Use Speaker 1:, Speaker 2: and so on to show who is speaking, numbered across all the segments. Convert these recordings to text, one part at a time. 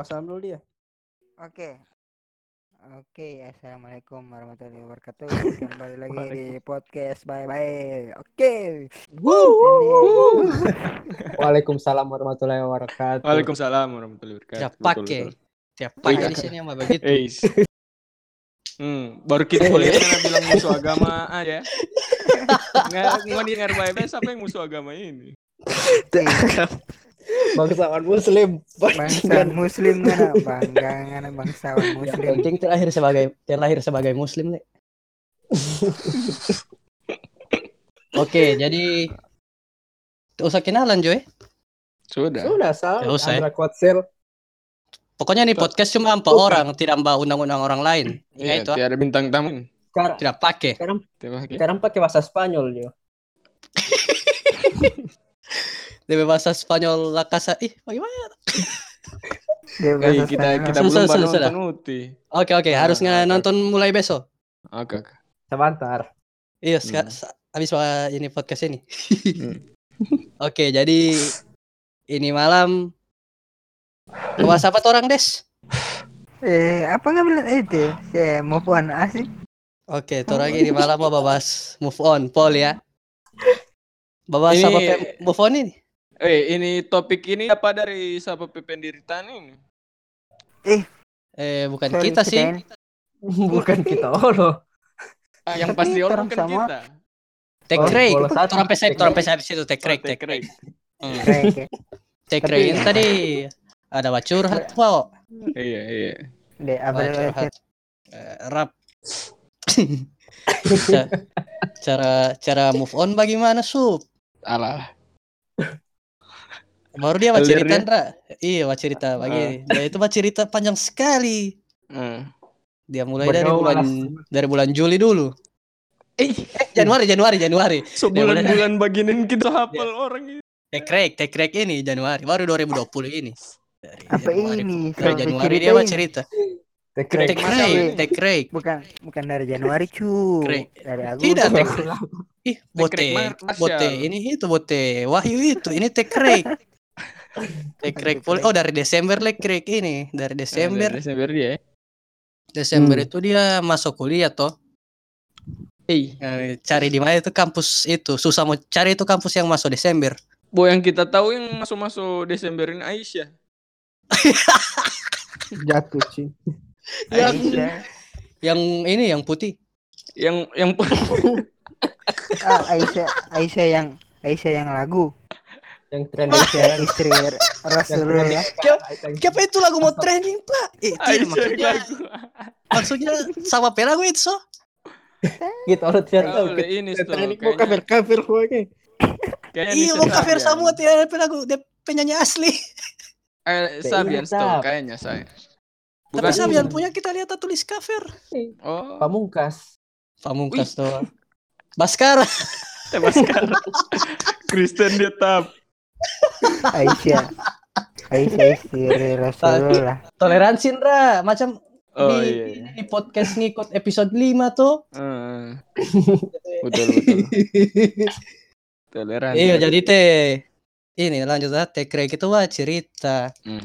Speaker 1: Salam dulu dia.
Speaker 2: Oke. Oke, assalamualaikum warahmatullahi wabarakatuh. Kembali lagi di podcast bye bye. Oke.
Speaker 3: Waalaikumsalam warahmatullahi wabarakatuh.
Speaker 4: Waalaikumsalam warahmatullahi wabarakatuh.
Speaker 5: Tidak pakai. Tidak pakai di sini sama begitu.
Speaker 4: Eis. Hmm, baru kita boleh karena bilang musuh agama aja. Nggak, mau di RBS siapa yang musuh agama ini?
Speaker 3: Bangsawan Muslim.
Speaker 2: Bangsawan Muslim mana? Banggangan
Speaker 5: Ya
Speaker 2: bangsawan
Speaker 5: Yang
Speaker 2: Muslim.
Speaker 5: penting terlahir sebagai terlahir sebagai muslim nih. Oke, jadi Nggak usah kenalan Joy.
Speaker 4: Sudah.
Speaker 3: Sudah salam.
Speaker 5: Nggak usah, ya.
Speaker 3: Andra Kotsel.
Speaker 5: Pokoknya nih podcast cuma empat
Speaker 3: Bukan.
Speaker 5: orang, tidak mbak undang-undang orang lain. Ya
Speaker 4: Iya,
Speaker 5: itu ah,
Speaker 4: tiada bintang tamu.
Speaker 3: Sekarang,
Speaker 5: tidak pakai.
Speaker 4: Tiada pakai.
Speaker 3: sekarang pakai bahasa Spanyol yo.
Speaker 5: Di bahasa Spanyol la casa. Ih, oh, bagaimana?
Speaker 2: Dia
Speaker 4: Eh,
Speaker 2: bahasa
Speaker 4: kita
Speaker 2: Spanyol.
Speaker 4: kita
Speaker 5: Sudah,
Speaker 4: belum
Speaker 5: sudah,
Speaker 4: pada
Speaker 5: sudah.
Speaker 4: nonton Uti.
Speaker 5: Oke oke,
Speaker 4: Nah,
Speaker 5: harus nge-
Speaker 4: oke.
Speaker 5: nonton mulai besok.
Speaker 4: Oke, oke.
Speaker 3: Sebentar.
Speaker 5: Iya, seka-
Speaker 4: Hmm.
Speaker 5: sa- habis wa- ini podcast ini. Oke, jadi ini malam WhatsApp orang Des.
Speaker 2: Eh, apa nggak bilang eh, itu?
Speaker 5: Ah.
Speaker 2: Ya, mau puan asik.
Speaker 5: Oke, torang ini malam mau bahas move on, Paul ya. Bahas
Speaker 4: Ini-
Speaker 5: apa pe- move on ini?
Speaker 4: Eh, ini topik ini apa dari siapa Pendiritan ini?
Speaker 5: Eh, bukan
Speaker 2: Sorry,
Speaker 5: kita sih.
Speaker 2: ini.
Speaker 3: Bukan kita oh, olo.
Speaker 4: Ah, yang
Speaker 2: Tapi
Speaker 4: pasti
Speaker 2: orang
Speaker 4: orang kan
Speaker 2: sama.
Speaker 4: kita.
Speaker 2: Oh,
Speaker 5: Take
Speaker 3: Orang
Speaker 5: rate.
Speaker 3: Oh, bola satu.
Speaker 5: Torang pesep,
Speaker 3: Take
Speaker 5: torang
Speaker 3: rate.
Speaker 5: pesep habis itu take rate, take rate. Hmm,
Speaker 2: Baik, ya.
Speaker 5: Take
Speaker 2: Tapi-
Speaker 5: rate ini tadi ada wacur hat, wow.
Speaker 4: Iya, iya.
Speaker 2: Deh, apa
Speaker 5: Wacur
Speaker 2: lagi?
Speaker 5: hat. Eh, Rap. Ca- cara cara move on bagaimana sup
Speaker 4: Alah.
Speaker 5: baru dia baca cerita
Speaker 4: Alirnya.
Speaker 5: Ndra. iya baca cerita pagi dia itu baca cerita panjang sekali
Speaker 4: Hmm.
Speaker 5: dia mulai dari
Speaker 3: Bergaul,
Speaker 5: bulan dari bulan Juli dulu eh, eh, Januari Januari Januari
Speaker 4: Sebulan-bulan baginin kita hafal orang ini.
Speaker 5: tekrek tekrek ini Januari baru 2020 ini Dari
Speaker 2: Apa
Speaker 5: Januari.
Speaker 2: ini?
Speaker 5: dari
Speaker 2: Soal
Speaker 5: Januari
Speaker 2: cerita
Speaker 5: dia baca
Speaker 2: ini.
Speaker 5: cerita
Speaker 3: Tekrek.
Speaker 5: tekrek
Speaker 2: Masa,
Speaker 5: tekrek
Speaker 2: Bukan bukan dari Januari, cu.
Speaker 5: Krik.
Speaker 2: Dari Agustus.
Speaker 5: tidak tekrek ih bote
Speaker 4: Tekrek Mar-
Speaker 5: bote
Speaker 4: Marshall.
Speaker 5: ini itu bote wahyu itu ini tekrek tekrek poli- oh dari Desember tekrek ini dari Desember
Speaker 4: Desember dia.
Speaker 5: Desember
Speaker 3: Hmm.
Speaker 5: itu dia masuk kuliah toh.
Speaker 4: Eh,
Speaker 5: Eh, Cari di mana itu kampus itu susah mau cari itu kampus yang masuk Desember.
Speaker 4: Bo yang kita tahu yang masuk-masuk Desember ini Aisyah.
Speaker 1: Jatuh sih.
Speaker 4: Aisyah.
Speaker 2: Aisyah.
Speaker 5: Yang ini yang putih.
Speaker 4: Yang yang
Speaker 2: Ah, Aisyah, Aisyah yang Aisyah yang lagu.
Speaker 3: Yang trending
Speaker 2: Aisyah istri
Speaker 3: Yang
Speaker 2: Rasulullah.
Speaker 3: trending.
Speaker 5: Siapa itu lagu mau trending pak? Eh, tidak,
Speaker 4: Aisyah yang
Speaker 5: maksudnya,
Speaker 4: lagu.
Speaker 5: maksudnya sama pelagu itu so.
Speaker 3: Kita orang tidak tahu.
Speaker 4: Oleh ini
Speaker 3: Kita
Speaker 4: tuh.
Speaker 3: trending mau
Speaker 4: kayaknya-
Speaker 3: kafir kafir lagi.
Speaker 4: kayaknya
Speaker 5: Iya
Speaker 4: di
Speaker 5: mau
Speaker 4: Sabian.
Speaker 5: kafir semua tidak ada pelagu dia penyanyi asli.
Speaker 4: Eh, Sabian
Speaker 3: Iya,
Speaker 4: Store
Speaker 3: Sab.
Speaker 4: kayaknya saya.
Speaker 5: Tapi
Speaker 4: Bukan.
Speaker 5: Sabian punya kita lihat tulis kafir.
Speaker 4: Oh,
Speaker 3: Pamungkas.
Speaker 5: Pamungkas tuh. Baskara.
Speaker 4: tebas sekarang. Kristen dia tap.
Speaker 2: Aisyah. Aisyah istri Rasulullah.
Speaker 5: Toleransi Ndra. macam
Speaker 4: Oh
Speaker 5: di,
Speaker 4: iya. iya.
Speaker 5: di podcast ngikut episode 5 tuh.
Speaker 4: Heeh. betul betul. Toleran.
Speaker 5: Iya jadi teh ini lanjut ah teh Craig itu wah cerita
Speaker 4: Hmm.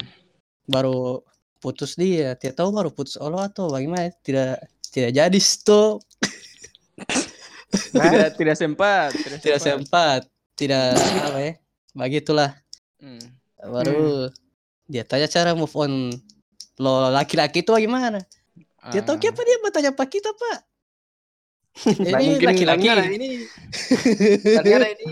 Speaker 5: baru putus dia tidak tahu baru putus Allah atau bagaimana tidak tidak jadi stop
Speaker 4: Tidak Eh, tidak sempat.
Speaker 5: tidak sempat tidak apa ya begitulah
Speaker 4: Hmm.
Speaker 5: baru dia tanya cara move on lo laki-laki itu bagaimana dia tahu
Speaker 4: Ah.
Speaker 5: apa dia bertanya pak kita pak
Speaker 4: Nah,
Speaker 5: ini
Speaker 4: mungkin
Speaker 5: laki-laki
Speaker 3: ya,
Speaker 4: Langgaran ini Langgaran ini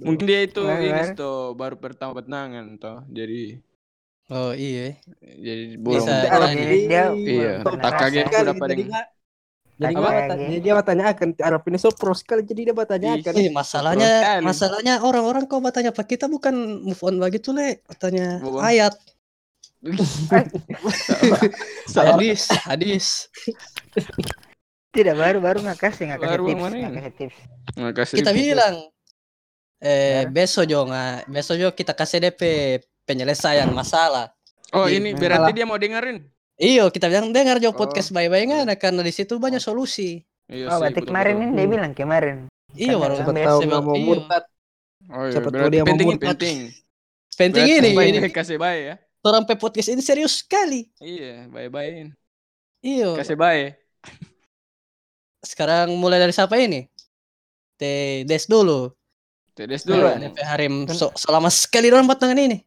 Speaker 4: mungkin dia itu ini
Speaker 2: Langgaran.
Speaker 4: tuh baru pertama bertangan toh jadi
Speaker 5: oh iya
Speaker 4: jadi burung
Speaker 5: Bisa.
Speaker 3: Kita orang
Speaker 5: Iya.
Speaker 3: ini-
Speaker 4: Iya, tak kaget aku dapat
Speaker 3: Jadi
Speaker 4: yang-
Speaker 3: nggak- jadi nggak
Speaker 2: Apa ya,
Speaker 3: bata-
Speaker 2: Ge?
Speaker 3: jadi dia bertanya akan Arab ini so pro sekali jadi dia bertanya akan
Speaker 4: Kan
Speaker 5: Eh, masalahnya
Speaker 4: Teruskan.
Speaker 5: masalahnya orang-orang kok bertanya pak kita bukan move on begitu le bertanya
Speaker 4: Bukan.
Speaker 5: ayat
Speaker 4: Salah.
Speaker 5: hadis hadis
Speaker 2: Tidak baru baru nggak kasih nggak kasih
Speaker 4: Baru Iya
Speaker 2: tips
Speaker 4: kemarin.
Speaker 2: nggak kasih tips. Oh,
Speaker 4: Terima kasih.
Speaker 5: kita bilang eh
Speaker 2: Ya.
Speaker 5: besok jo nga- besok jo kita kasih dp penyelesaian masalah
Speaker 4: Oh
Speaker 5: Iya.
Speaker 4: ini berarti dia mau dengerin.
Speaker 5: iyo Iya, kita bilang dengar
Speaker 4: Oh.
Speaker 5: jo podcast bye bye nggak karena di situ banyak solusi
Speaker 2: Oh, berarti
Speaker 4: Iya sih,
Speaker 5: Iya,
Speaker 4: betul-betul. Iya.
Speaker 2: kemarin ini dia bilang kemarin.
Speaker 5: iyo
Speaker 2: Karena
Speaker 5: baru
Speaker 2: Siapa
Speaker 3: siapa
Speaker 2: Sampai
Speaker 3: tahu
Speaker 5: sebab-
Speaker 3: nggak mau
Speaker 5: iyo.
Speaker 3: murtad
Speaker 4: Oh iya,
Speaker 3: Siapa tahu
Speaker 4: berarti
Speaker 3: dia mau
Speaker 4: penting
Speaker 3: murtad.
Speaker 4: penting.
Speaker 5: Penting ini,
Speaker 4: Bye,
Speaker 5: ini.
Speaker 4: Kasih bye ya.
Speaker 5: Orang pe podcast ini serius sekali.
Speaker 4: Iya, bye-byein.
Speaker 5: Iyo.
Speaker 4: Kasih bye.
Speaker 5: Sekarang mulai dari siapa ini? Teh Des dulu.
Speaker 4: Tedes dulu.
Speaker 5: Dulu Harim so, selama sekali doang patungan ini.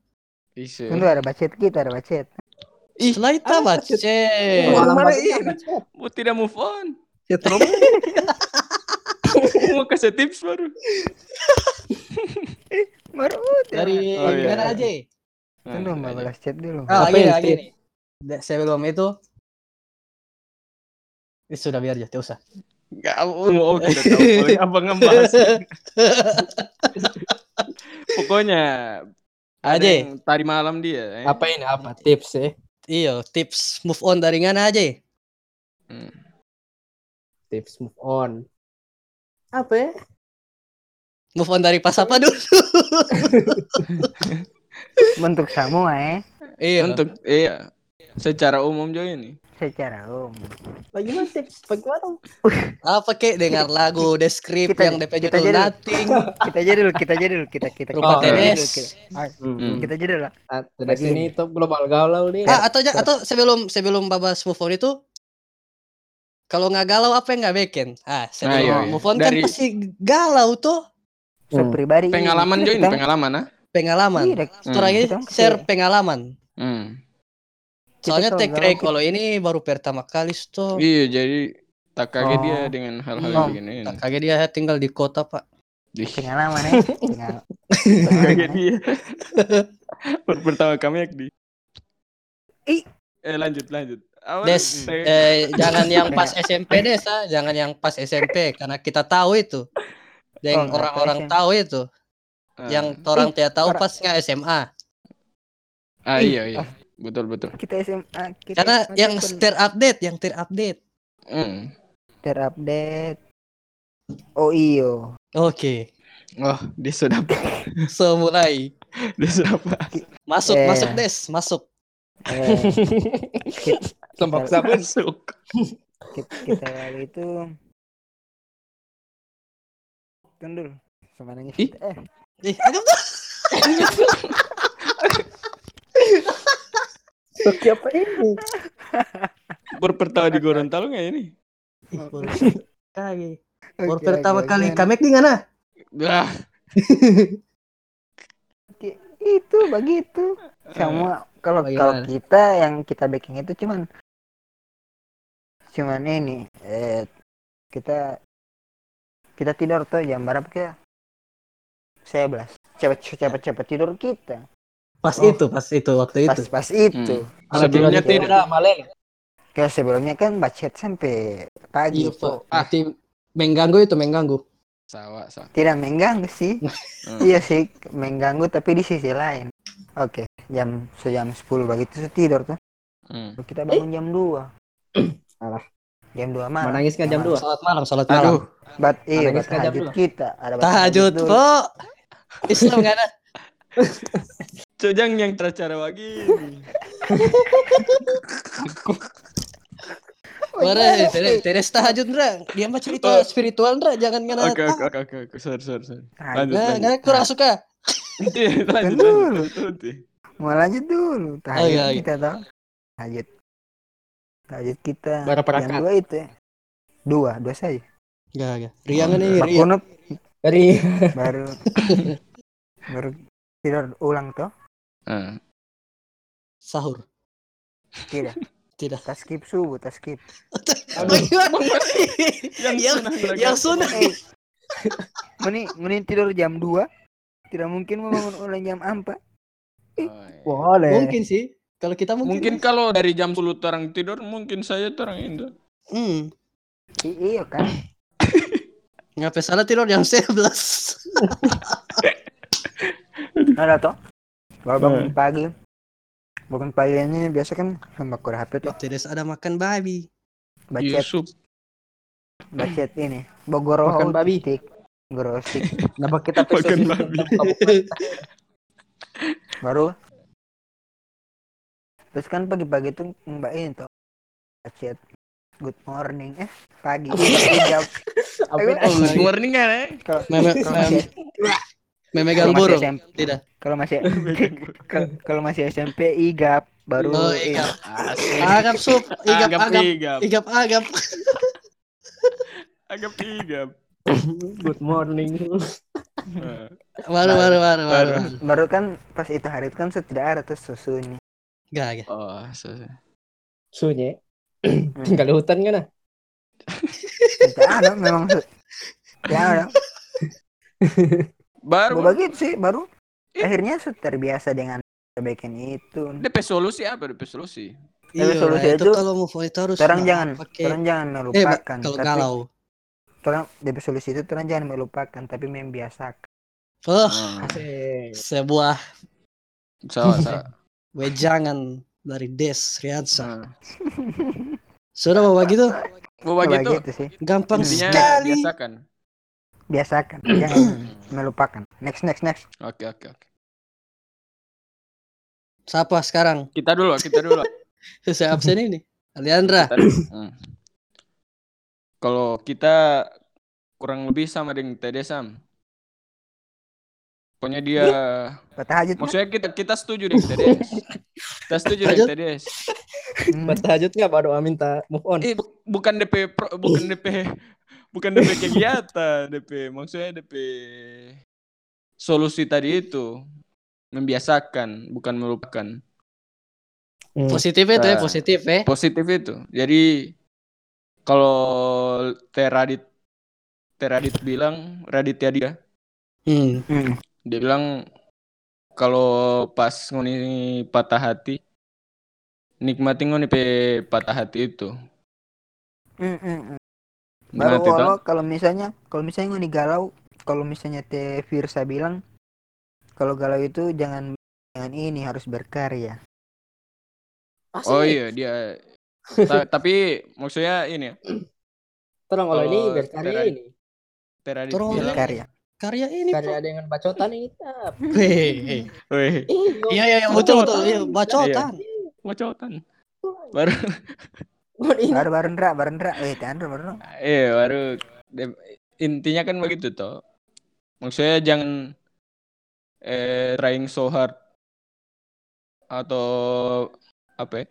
Speaker 4: Isu.
Speaker 2: Tunggu ada bacet kita, ada bacet.
Speaker 5: Ih, setelah itu apa?
Speaker 3: chat.
Speaker 5: Cek.
Speaker 4: Wah.
Speaker 3: Oh, Malam
Speaker 4: Mana
Speaker 3: pagi
Speaker 4: ini?
Speaker 3: apa, Cok?
Speaker 4: Mau Eh. Oh, tidak move on.
Speaker 3: Ya, terus.
Speaker 4: Mau kasih tips baru.
Speaker 2: Baru udah.
Speaker 5: Dari
Speaker 4: Oh, iya.
Speaker 5: gimana aja?
Speaker 3: Kan
Speaker 2: Tunggu
Speaker 4: Nah,
Speaker 2: mau balas chat dulu.
Speaker 5: Ah,
Speaker 3: Apa
Speaker 5: lagi,
Speaker 3: yang
Speaker 5: lagi
Speaker 3: skip?
Speaker 5: nih. Da- Sebelum itu Eh, sudah biar aja, tidak usah.
Speaker 4: Gak mau oh, kita tahu boleh apa ngebahas. Pokoknya ada
Speaker 5: Aja,
Speaker 4: yang tadi malam dia. eh.
Speaker 3: Apa ini apa tips ya?
Speaker 5: iyo Iya, tips move on dari ngana aja. ya?
Speaker 3: Tips move on. Apa ya?
Speaker 5: Move on dari pas apa dulu?
Speaker 2: Bentuk semua eh
Speaker 5: Iya.
Speaker 4: Untuk iya. Secara umum juga ini.
Speaker 2: secara umum.
Speaker 3: Bagaimana tips? Bagaimana?
Speaker 5: Apa kek dengar lagu deskrip
Speaker 2: Kita-
Speaker 5: yang DP
Speaker 2: kita
Speaker 5: judul
Speaker 2: jadi-
Speaker 5: Nothing,
Speaker 2: Kita aja dulu, kita aja dulu, kita kita
Speaker 5: Rupa
Speaker 3: Oh,
Speaker 2: kita aja
Speaker 5: tenis.
Speaker 2: dulu, kita-
Speaker 4: Hmm.
Speaker 2: Kita aja dulu.
Speaker 3: Ah, dari
Speaker 2: Lagi.
Speaker 3: sini top global galau nih.
Speaker 5: Ah, atau ja- atau sebelum sebelum babas move on itu kalau nggak galau apa yang nggak bikin? Ah, sebelum
Speaker 4: iya, iya.
Speaker 5: move on
Speaker 4: Dari-
Speaker 5: kan pasti galau tuh
Speaker 2: So
Speaker 3: Hmm.
Speaker 2: pribadi. Kita-
Speaker 4: Pengalaman join pengalaman ah.
Speaker 5: pengalaman.
Speaker 2: Iya,
Speaker 4: Hmm.
Speaker 5: Orang ini
Speaker 2: kita-
Speaker 5: share pengalaman.
Speaker 4: Hmm.
Speaker 2: kita
Speaker 5: Soalnya
Speaker 2: kalau
Speaker 5: tech
Speaker 2: galau
Speaker 5: rate
Speaker 2: kita-
Speaker 5: kalau ini baru pertama kali
Speaker 3: Oh.
Speaker 5: tuh.
Speaker 4: Iya, jadi tak kaget dia
Speaker 2: Oh.
Speaker 4: dengan hal-hal
Speaker 5: Hmm.
Speaker 4: yang begini.
Speaker 5: Tak kaget dia tinggal di kota, Pak.
Speaker 4: Dih,
Speaker 2: Pengalaman eh. Pengal-
Speaker 4: kaget
Speaker 5: iya.
Speaker 2: Pengalaman. eh.
Speaker 4: dia. Iya. Per- Pertama kami di.
Speaker 2: Ih.
Speaker 4: Eh lanjut lanjut. Awal,
Speaker 5: Des,
Speaker 4: eh,
Speaker 5: eh, jangan yang pas SMP Des, ah. jangan yang pas SMP karena kita tahu itu.
Speaker 2: Oh,
Speaker 5: Yang
Speaker 2: nggak
Speaker 5: orang-orang
Speaker 2: tahu
Speaker 5: tahu itu,
Speaker 4: ah.
Speaker 5: eh, yang orang tidak tahu
Speaker 2: orang-
Speaker 5: pas nggak SMA.
Speaker 4: ah iya iya. Betul betul.
Speaker 2: Kita SMA kita
Speaker 5: Karena
Speaker 2: SMA
Speaker 5: yang
Speaker 2: kan
Speaker 5: terupdate, yang terupdate.
Speaker 4: Hmm.
Speaker 2: terupdate. Oh iyo.
Speaker 5: Oke,
Speaker 4: Oh, dia sudah
Speaker 5: so mulai
Speaker 4: dia sudah apa?
Speaker 5: masuk,
Speaker 2: Eh.
Speaker 5: masuk Des, masuk.
Speaker 2: Eh,
Speaker 3: Sempak sabun.
Speaker 4: Masuk.
Speaker 2: kita, kita waktu itu Tunggu dulu. Sama nangis.
Speaker 4: Ih.
Speaker 2: Eh,
Speaker 5: Ih, agak tuh.
Speaker 3: Toki apa ini?
Speaker 4: Baru pertama di Gorontalo nggak ini?
Speaker 5: Ih, baru kali. Baru
Speaker 2: oke,
Speaker 5: pertama
Speaker 2: oke,
Speaker 5: kali
Speaker 2: oke.
Speaker 5: kamek di mana?
Speaker 4: Lah,
Speaker 2: itu begitu
Speaker 5: Eh,
Speaker 2: semua
Speaker 5: oh
Speaker 2: kalau kalau
Speaker 5: Bagaimana?
Speaker 2: kita yang kita baking itu cuman cuman ini eh, kita kita tidur tuh jam berapa kita saya belas cepet cepet cepet tidur kita
Speaker 5: Pas
Speaker 2: Oh.
Speaker 5: itu, pas itu waktu
Speaker 2: pas
Speaker 5: itu.
Speaker 2: pas itu
Speaker 4: sebelumnya
Speaker 2: tidur.
Speaker 4: tidak.
Speaker 3: Malen.
Speaker 2: kayak sebelumnya kan bacet sampai pagi
Speaker 5: Iya, Pak.
Speaker 2: tuh.
Speaker 5: Berarti mengganggu itu mengganggu.
Speaker 4: Sawa, sawa.
Speaker 2: tidak mengganggu sih iya sih mengganggu tapi di sisi lain oke jam sejam 10 begitu saya tidur tuh
Speaker 4: Hmm.
Speaker 2: kita bangun jam 2
Speaker 3: Alah.
Speaker 2: jam 2 malam
Speaker 3: Menangis kan jam 2.
Speaker 5: Salat malam, salat malam.
Speaker 4: Aduh,
Speaker 2: Bat,
Speaker 3: Apalagi
Speaker 2: iya, bat
Speaker 3: setengah jam
Speaker 2: tahajud
Speaker 3: dulu.
Speaker 2: kita. Ada bat
Speaker 5: Tahajud
Speaker 2: dulu.
Speaker 5: kok. Islam nggak ada.
Speaker 4: Cojang yang teracara lagi.
Speaker 2: Oh,
Speaker 5: Wara,
Speaker 2: iya, sih.
Speaker 5: teres, teres tahajud Ndra. Dia mah cerita spiritual Ndra, jangan
Speaker 4: Oh.
Speaker 5: ngana.
Speaker 4: Oke, oke, oke, oke, oke. Sorry, sorry, sorry.
Speaker 2: Tahajud.
Speaker 4: Lanjut,
Speaker 5: Nah,
Speaker 4: lanjut.
Speaker 5: nah, kurang suka.
Speaker 4: Itu ya, lanjut,
Speaker 2: Dulu.
Speaker 4: lanjut, lanjut, lanjut.
Speaker 2: Mau lanjut dulu. Tahajud
Speaker 5: iya, iya.
Speaker 2: kita tau. Tahajud. Tahajud kita.
Speaker 3: Berapa
Speaker 2: Yang
Speaker 3: rakaat?
Speaker 2: dua itu ya. Dua, dua saja.
Speaker 5: Iya, Enggak, enggak. Riangan nih,
Speaker 2: Bak
Speaker 5: riang.
Speaker 2: kunut,
Speaker 3: Dari
Speaker 2: baru baru tidur ulang toh.
Speaker 4: Ah.
Speaker 5: Sahur.
Speaker 2: Tidak.
Speaker 5: Tidak.
Speaker 2: Tas Iya skip subuh, tas skip.
Speaker 5: Bagaimana?
Speaker 4: Yang
Speaker 5: Yang
Speaker 4: sunah lagi.
Speaker 5: yang sunnah.
Speaker 2: Eh. Meni, meni tidur jam 2. Tidak mungkin mau bangun ulang jam 4.
Speaker 4: Oh, iya.
Speaker 3: boleh.
Speaker 2: Eh.
Speaker 5: Mungkin sih. Kalau kita mungkin.
Speaker 4: Mungkin kalau dari jam 10 orang tidur, mungkin saya orang itu.
Speaker 5: Hmm.
Speaker 2: I- iya kan?
Speaker 5: Ngapain salah tidur jam 11.
Speaker 2: Ada toh. Kalau bangun pagi. Bangun pagi ini biasa kan sama kur HP toh.
Speaker 5: Tidak ada makan babi.
Speaker 2: Baca
Speaker 4: Yusuf.
Speaker 2: bacet ini Bogoro
Speaker 3: Iya. Makan babi.
Speaker 2: stick Bogoro stick.
Speaker 3: Kenapa kita
Speaker 4: Makan
Speaker 3: pesen
Speaker 4: babi.
Speaker 2: baru terus kan pagi-pagi tuh mbak ini tuh bacet good morning eh pagi Jam-
Speaker 3: Apa
Speaker 2: Ayo,
Speaker 3: itu?
Speaker 2: Oh,
Speaker 4: Good morning kan, eh?
Speaker 2: kalau-
Speaker 5: Meme-
Speaker 2: kalau
Speaker 5: meme.
Speaker 2: bacet.
Speaker 5: memegang
Speaker 2: Kalau masih
Speaker 5: burung.
Speaker 2: SMP.
Speaker 5: Tidak.
Speaker 2: Kalau masih ke- kalau masih SMP igap baru
Speaker 5: Oh,
Speaker 2: ini.
Speaker 5: igap. Agap sup, igap
Speaker 4: agap iya.
Speaker 5: agap,
Speaker 4: igap
Speaker 5: igap agap.
Speaker 4: agap igap
Speaker 3: Good morning.
Speaker 4: Eh,
Speaker 5: Baru baru baru baru.
Speaker 4: Baru.
Speaker 2: baru kan pas itu hari itu kan saya tidak ada tuh susunya
Speaker 5: Enggak, enggak.
Speaker 4: oh susah
Speaker 3: Sunye. Tinggal di hutan kan? ah?
Speaker 2: tidak ada memang su- tidak ada Gua
Speaker 4: baru
Speaker 2: begitu sih baru
Speaker 5: Eh.
Speaker 4: Ih.
Speaker 2: akhirnya su- terbiasa dengan perbaikan itu
Speaker 4: DP solusi apa DP solusi
Speaker 2: Tapi
Speaker 5: Iya,
Speaker 2: solusi
Speaker 5: itu
Speaker 2: itu,
Speaker 5: kalau move on itu harus
Speaker 2: Terang
Speaker 5: nggak
Speaker 2: jangan,
Speaker 5: pakai-
Speaker 2: orang jangan
Speaker 5: Eh, ba-
Speaker 2: melupakan.
Speaker 5: kalau
Speaker 2: tapi
Speaker 5: galau.
Speaker 2: orang dari solusi itu orang jangan melupakan, tapi membiasakan.
Speaker 5: Oh,
Speaker 4: Hmm,
Speaker 2: Iya.
Speaker 3: Asik.
Speaker 5: sebuah
Speaker 4: salah salah
Speaker 5: wejangan dari Des Riansa.
Speaker 4: Hmm.
Speaker 5: Sudah bawa gitu,
Speaker 4: Gua
Speaker 2: Coba
Speaker 4: gitu
Speaker 2: gitu sih,
Speaker 5: gampang
Speaker 4: intinya
Speaker 5: sekali.
Speaker 4: biasakan Hmm.
Speaker 2: biasakan, jangan melupakan. Next, next, next.
Speaker 4: oke oke oke
Speaker 5: Siapa sekarang?
Speaker 4: kita dulu kita dulu
Speaker 5: Saya absen ini. Aliandra.
Speaker 4: Tadi- Hmm. Kalau kita kurang lebih sama dengan TD Sam. Pokoknya dia
Speaker 2: Patah hajat.
Speaker 4: maksudnya kita kita setuju dengan TD. Kita setuju dengan
Speaker 5: Lanjut.
Speaker 4: TD.
Speaker 2: Hmm.
Speaker 3: Buat tahajud nggak Pak Doa minta move on?
Speaker 4: Eh, bu- bukan DP pro- bukan DP bukan DP kegiatan, DP maksudnya DP solusi tadi itu membiasakan bukan melupakan
Speaker 5: Positif itu ya,
Speaker 4: Nah.
Speaker 5: positif ya.
Speaker 4: positif itu jadi kalau Teradit Teradit bilang Raditya dia
Speaker 5: Hmm.
Speaker 2: Hmm.
Speaker 4: dia bilang kalau pas ngoni patah hati nikmati ngoni pe patah hati itu
Speaker 2: Hmm, hmm, hmm. Baru
Speaker 4: Nikmati
Speaker 2: kalau
Speaker 4: tau.
Speaker 2: kalau misalnya, kalau misalnya nih galau, kalau misalnya Teh Firsa bilang, kalau galau itu jangan jangan ini harus berkarya.
Speaker 3: Asik.
Speaker 4: oh iya dia Ta- tapi maksudnya ini ya,
Speaker 3: Tolong kalau
Speaker 5: Eh,
Speaker 3: ini
Speaker 4: Kalau
Speaker 3: berkarya
Speaker 4: secara-
Speaker 3: ini.
Speaker 4: Teradit
Speaker 5: Tolong,
Speaker 4: bilang
Speaker 2: Berkarya.
Speaker 5: Karya ini,
Speaker 3: Karya
Speaker 5: Pak.
Speaker 3: dengan bacotan ini. tap.
Speaker 5: Weh.
Speaker 4: weh
Speaker 3: Ih, gua-
Speaker 5: Iya, iya, iya, betul, betul. Iya, bacotan.
Speaker 4: ngocotan
Speaker 3: gua ini.
Speaker 2: Baru baru ndra, baru ndra. Eh, Teh Andra baru.
Speaker 4: eh baru de- intinya kan begitu toh maksudnya jangan eh trying so hard atau apa ya?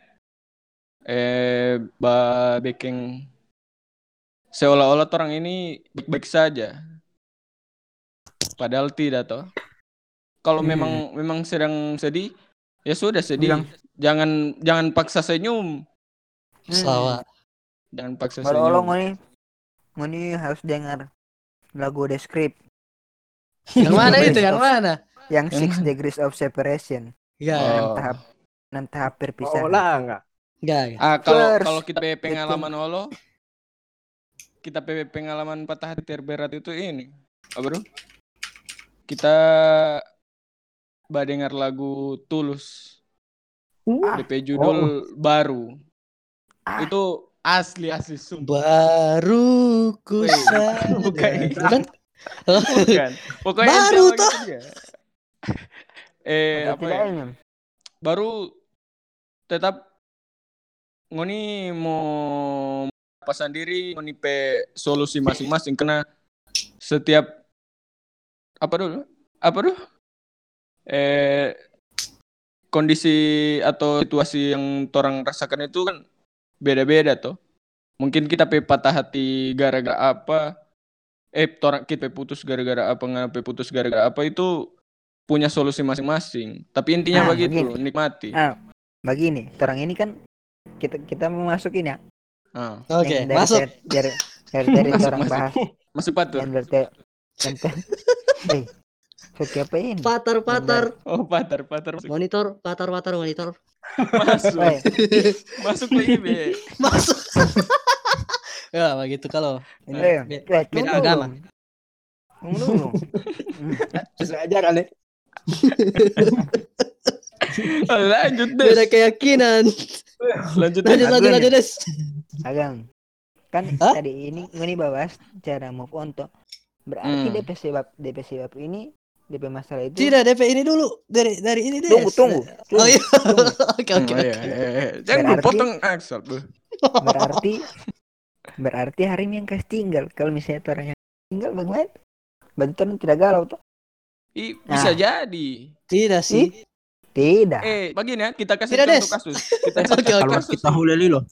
Speaker 4: eh ba baking seolah-olah orang ini baik-baik saja padahal tidak toh kalau
Speaker 2: Hmm.
Speaker 4: memang memang sedang sedih ya sudah sedih
Speaker 2: Bilang.
Speaker 4: jangan jangan paksa senyum
Speaker 5: Sawa.
Speaker 4: jangan paksa
Speaker 2: Baru lo
Speaker 4: senyum
Speaker 2: ngoni ngoni harus dengar lagu The Script
Speaker 5: Yang mana
Speaker 2: Yang
Speaker 5: itu? Yang mana?
Speaker 2: yang
Speaker 4: Yang
Speaker 2: Six Degrees of Separation
Speaker 4: Hmm.
Speaker 5: Enggak,
Speaker 4: Oh.
Speaker 2: enam tahap enam tahap
Speaker 3: Oh
Speaker 2: perpisahan.
Speaker 3: lah enggak.
Speaker 5: enggak. enggak.
Speaker 4: Ah kalau
Speaker 2: First.
Speaker 4: kalau kita pe- pengalaman olo kita pe- pengalaman patah hati terberat itu ini. Apa bro? Kita badengar lagu Tulus DP judul baru. Itu asli asli sumpah.
Speaker 5: Baru ku
Speaker 4: Weh,
Speaker 5: sadar. kan?
Speaker 4: bukan.
Speaker 5: Bukan?
Speaker 4: Bukan. Pokoknya
Speaker 5: Baru
Speaker 4: intinya gitu dia. eh
Speaker 2: Ada
Speaker 4: apa ya?
Speaker 2: tidaknya?
Speaker 4: baru tetap ngoni mau pasang diri ngoni pe solusi masing-masing karena setiap apa dulu apa dulu eh kondisi atau situasi yang orang rasakan itu kan beda-beda toh mungkin kita pe patah hati gara-gara apa eh orang kita pe putus gara-gara apa nggak pe putus gara-gara apa itu punya solusi masing-masing tapi intinya
Speaker 2: Ah,
Speaker 4: begitu
Speaker 2: begini.
Speaker 4: nikmati
Speaker 2: Ah. Begini, orang ini kan kita kita mau masuk ini ya.
Speaker 4: Ah,
Speaker 5: Oke,
Speaker 2: yang dari
Speaker 5: masuk.
Speaker 2: ter- dari dari, dari
Speaker 4: Masuk,
Speaker 2: orang
Speaker 4: masuk.
Speaker 2: bahas
Speaker 4: masuk patur
Speaker 2: yang dari ter- yang ter- Eh, so, siapa ini?
Speaker 5: Patar, patar.
Speaker 4: oh patar patar masuk
Speaker 5: Monitor, patar, patar, monitor.
Speaker 4: masuk,
Speaker 2: Woi,
Speaker 4: masuk lagi be
Speaker 5: Masuk. ya, begitu kalau. Ini,
Speaker 2: eh,
Speaker 5: bi-
Speaker 2: eh,
Speaker 5: beda
Speaker 2: tunggu
Speaker 5: agama.
Speaker 2: dong. Tunggu dulu.
Speaker 3: Sesuai ajaran ya.
Speaker 4: lanjut deh
Speaker 5: beda keyakinan.
Speaker 4: lanjut deh
Speaker 5: Lanjut, lanjut,
Speaker 2: Lagunya.
Speaker 5: lanjut, Des.
Speaker 2: Agang. Kan
Speaker 5: Hah?
Speaker 2: tadi ini ini bahas cara move on toh. Berarti
Speaker 4: Hmm.
Speaker 2: DP sebab DP sebab ini DP masalah itu
Speaker 5: Tidak, DP ini dulu. Dari dari ini, Des.
Speaker 2: Tunggu, tunggu.
Speaker 5: Oh iya.
Speaker 2: Tunggu. Hmm,
Speaker 5: Oke, oke.
Speaker 4: Oh, iya,
Speaker 5: oke.
Speaker 4: iya, iya. jangan lu
Speaker 2: Berarti-
Speaker 4: potong Axel Bu.
Speaker 2: berarti berarti Harim yang kasih tinggal kalau misalnya itu orang yang tinggal bagaimana berarti orang tidak galau tuh
Speaker 5: Nah.
Speaker 4: I, bisa jadi.
Speaker 5: Tidak sih.
Speaker 2: Tidak.
Speaker 4: Eh, begini ya, kita kasih
Speaker 5: Tidak,
Speaker 4: contoh
Speaker 5: Des.
Speaker 4: kasus. Kita
Speaker 2: Hmm?
Speaker 4: kasih
Speaker 5: Oke, oke.
Speaker 4: contoh
Speaker 1: Kalau
Speaker 4: kasus.
Speaker 1: kita huleli loh.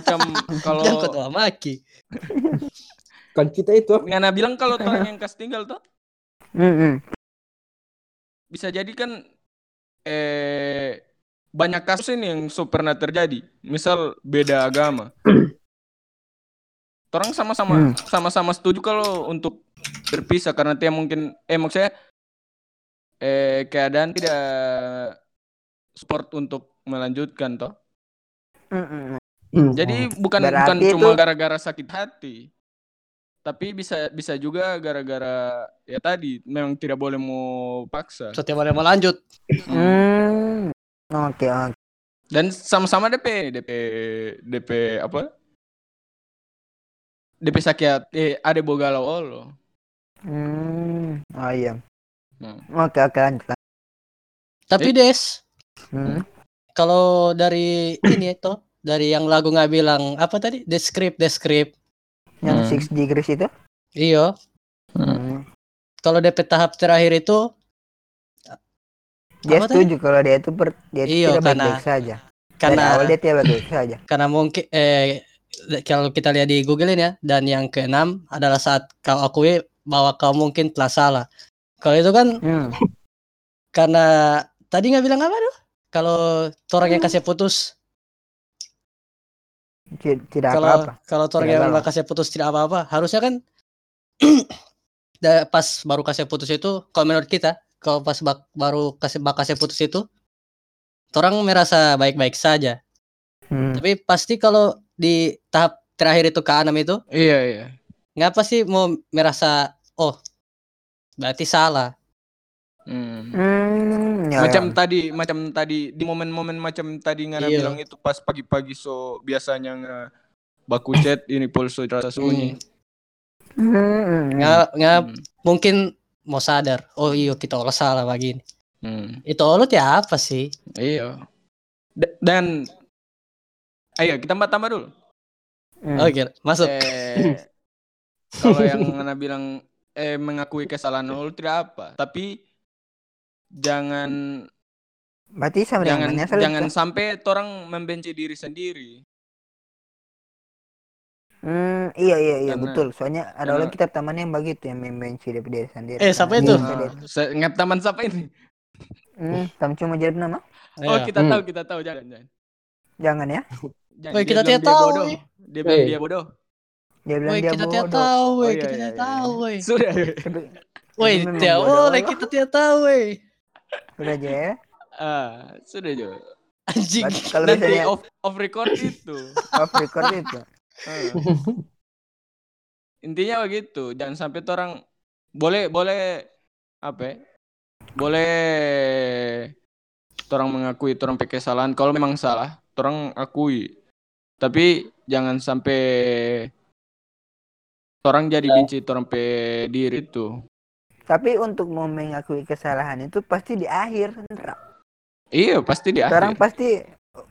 Speaker 4: Macam kalau
Speaker 2: Oh.
Speaker 5: Jangan kau tawa maki.
Speaker 3: Kan kita itu apa?
Speaker 4: Ngana bilang kalau orang yang kas tinggal tuh
Speaker 2: Mm-mm.
Speaker 4: bisa jadi kan eh banyak kasus ini yang so pernah terjadi. Misal beda agama. Orang
Speaker 2: Hmm.
Speaker 4: sama-sama sama-sama setuju kalau untuk berpisah karena dia mungkin eh maksudnya eh keadaan tidak support untuk melanjutkan toh.
Speaker 2: Mm-mm.
Speaker 3: Hmm.
Speaker 4: Jadi bukan
Speaker 2: Berarti
Speaker 4: bukan cuma
Speaker 2: itu-
Speaker 4: gara-gara sakit hati. Tapi bisa bisa juga gara-gara ya tadi memang tidak boleh mau paksa.
Speaker 5: Setiap boleh mau lanjut.
Speaker 2: Hmm. Oke, oke.
Speaker 4: Dan sama-sama DP DP DP apa? DP sakit hati ada bogalau olo.
Speaker 2: Hmm. Oh iya.
Speaker 4: Hmm.
Speaker 2: Oke, oke lanjut. lanjut. Eh.
Speaker 5: Tapi Des,
Speaker 2: Hmm.
Speaker 5: kalau dari ini itu dari yang lagu nggak bilang apa tadi? Descript, descript.
Speaker 2: Yang
Speaker 4: Hmm.
Speaker 2: six degrees itu?
Speaker 5: Iyo.
Speaker 2: Hmm.
Speaker 5: Kalau DP tahap terakhir itu
Speaker 2: Dia
Speaker 5: Apa tadi?
Speaker 2: setuju kalau dia itu per, dia itu
Speaker 5: Iya,
Speaker 2: tidak
Speaker 5: karena-
Speaker 2: baik-baik saja. Dari awal
Speaker 5: karena
Speaker 2: dia tidak baik-baik saja.
Speaker 5: karena mungkin eh kalau kita lihat di Google ya dan yang keenam adalah saat kau akui bahwa kau mungkin telah salah. Kalau itu kan
Speaker 2: Hmm.
Speaker 5: karena tadi nggak bilang apa tuh? Kalau orang
Speaker 2: Hmm.
Speaker 5: yang kasih putus,
Speaker 2: Ti- Tidak
Speaker 5: kalau
Speaker 2: apa-apa.
Speaker 5: kalau orang
Speaker 2: Tidak
Speaker 5: yang
Speaker 2: apa-apa.
Speaker 5: nggak kasih putus tidak apa-apa, harusnya kan da- pas baru kasih putus itu, kalau menurut kita, kalau pas bak- baru kasih bak kasih putus itu, orang merasa baik-baik saja.
Speaker 2: Hmm.
Speaker 5: Tapi pasti kalau di tahap terakhir itu ke enam itu,
Speaker 4: Iya iya.
Speaker 5: nggak pasti mau merasa oh berarti salah.
Speaker 4: Hmm.
Speaker 2: Hmm. ya,
Speaker 4: macam
Speaker 2: ya.
Speaker 4: tadi macam tadi di momen-momen macam tadi ngana
Speaker 5: Iya.
Speaker 4: bilang itu pas pagi-pagi so biasanya nga baku chat ini pulso rasa sunyi.
Speaker 2: Hmm, hmm, hmm.
Speaker 5: Nggak nggak
Speaker 4: Hmm.
Speaker 5: mungkin mau sadar. Oh iya kita olah salah begini.
Speaker 4: Hmm.
Speaker 5: Itu olut ya apa sih?
Speaker 4: Iya. D- dan ayo kita tambah tambah dulu.
Speaker 2: Hmm.
Speaker 5: Oke, Oh, masuk.
Speaker 4: Eh, kalau yang Ana bilang eh mengakui kesalahan lu tidak apa, tapi jangan
Speaker 2: Berarti sama dengan kan?
Speaker 4: jangan
Speaker 2: menyesal
Speaker 4: jangan
Speaker 2: itu.
Speaker 4: sampai orang membenci diri sendiri.
Speaker 2: Hmm, iya iya iya
Speaker 4: Karena-
Speaker 2: betul. Soalnya ada
Speaker 4: karena-
Speaker 2: orang kita temannya yang begitu yang membenci diri diri sendiri.
Speaker 5: Eh,
Speaker 2: Karena
Speaker 5: siapa
Speaker 2: dia
Speaker 5: itu?
Speaker 2: bisa
Speaker 4: Nah,
Speaker 2: dia-
Speaker 4: saya ingat teman siapa ini?
Speaker 2: Hmm, kamu cuma jadi nama?
Speaker 4: Oh,
Speaker 5: Ayo.
Speaker 4: kita
Speaker 3: Hmm.
Speaker 4: tahu, kita tahu jangan jangan.
Speaker 2: Jangan ya.
Speaker 4: Jangan,
Speaker 5: Woi,
Speaker 4: dia
Speaker 5: kita
Speaker 4: bilang dia
Speaker 5: tidak tahu,
Speaker 4: bodoh.
Speaker 5: woi.
Speaker 4: Dia bilang
Speaker 3: Woi.
Speaker 4: dia bodoh.
Speaker 2: Dia bilang
Speaker 5: Woi,
Speaker 2: dia
Speaker 5: kita tidak
Speaker 2: bodoh.
Speaker 5: tahu, woi,
Speaker 4: Oh, iya,
Speaker 5: kita
Speaker 4: iya,
Speaker 5: tidak
Speaker 4: iya.
Speaker 5: tahu, woi.
Speaker 4: Sudah.
Speaker 2: Tapi
Speaker 5: Woi,
Speaker 2: memang
Speaker 5: tidak
Speaker 2: bodoh,
Speaker 5: boleh
Speaker 2: loh.
Speaker 5: kita tidak tahu, woi.
Speaker 2: Udah aja ya.
Speaker 4: Ah, sudah juga.
Speaker 5: Anjing.
Speaker 2: Berarti Kalau
Speaker 4: Nanti
Speaker 2: misalnya
Speaker 4: off, off record itu.
Speaker 2: off record itu.
Speaker 4: Ah. intinya begitu jangan sampai tuh orang boleh boleh apa ya? boleh tuh orang mengakui tuh orang pakai kesalahan kalau memang salah tuh orang akui tapi jangan sampai tuh orang jadi benci tuh orang pe diri itu
Speaker 2: Tapi untuk mau mengakui kesalahan itu pasti di akhir. Ntar
Speaker 4: iya pasti di
Speaker 2: Sekarang
Speaker 4: akhir
Speaker 2: pasti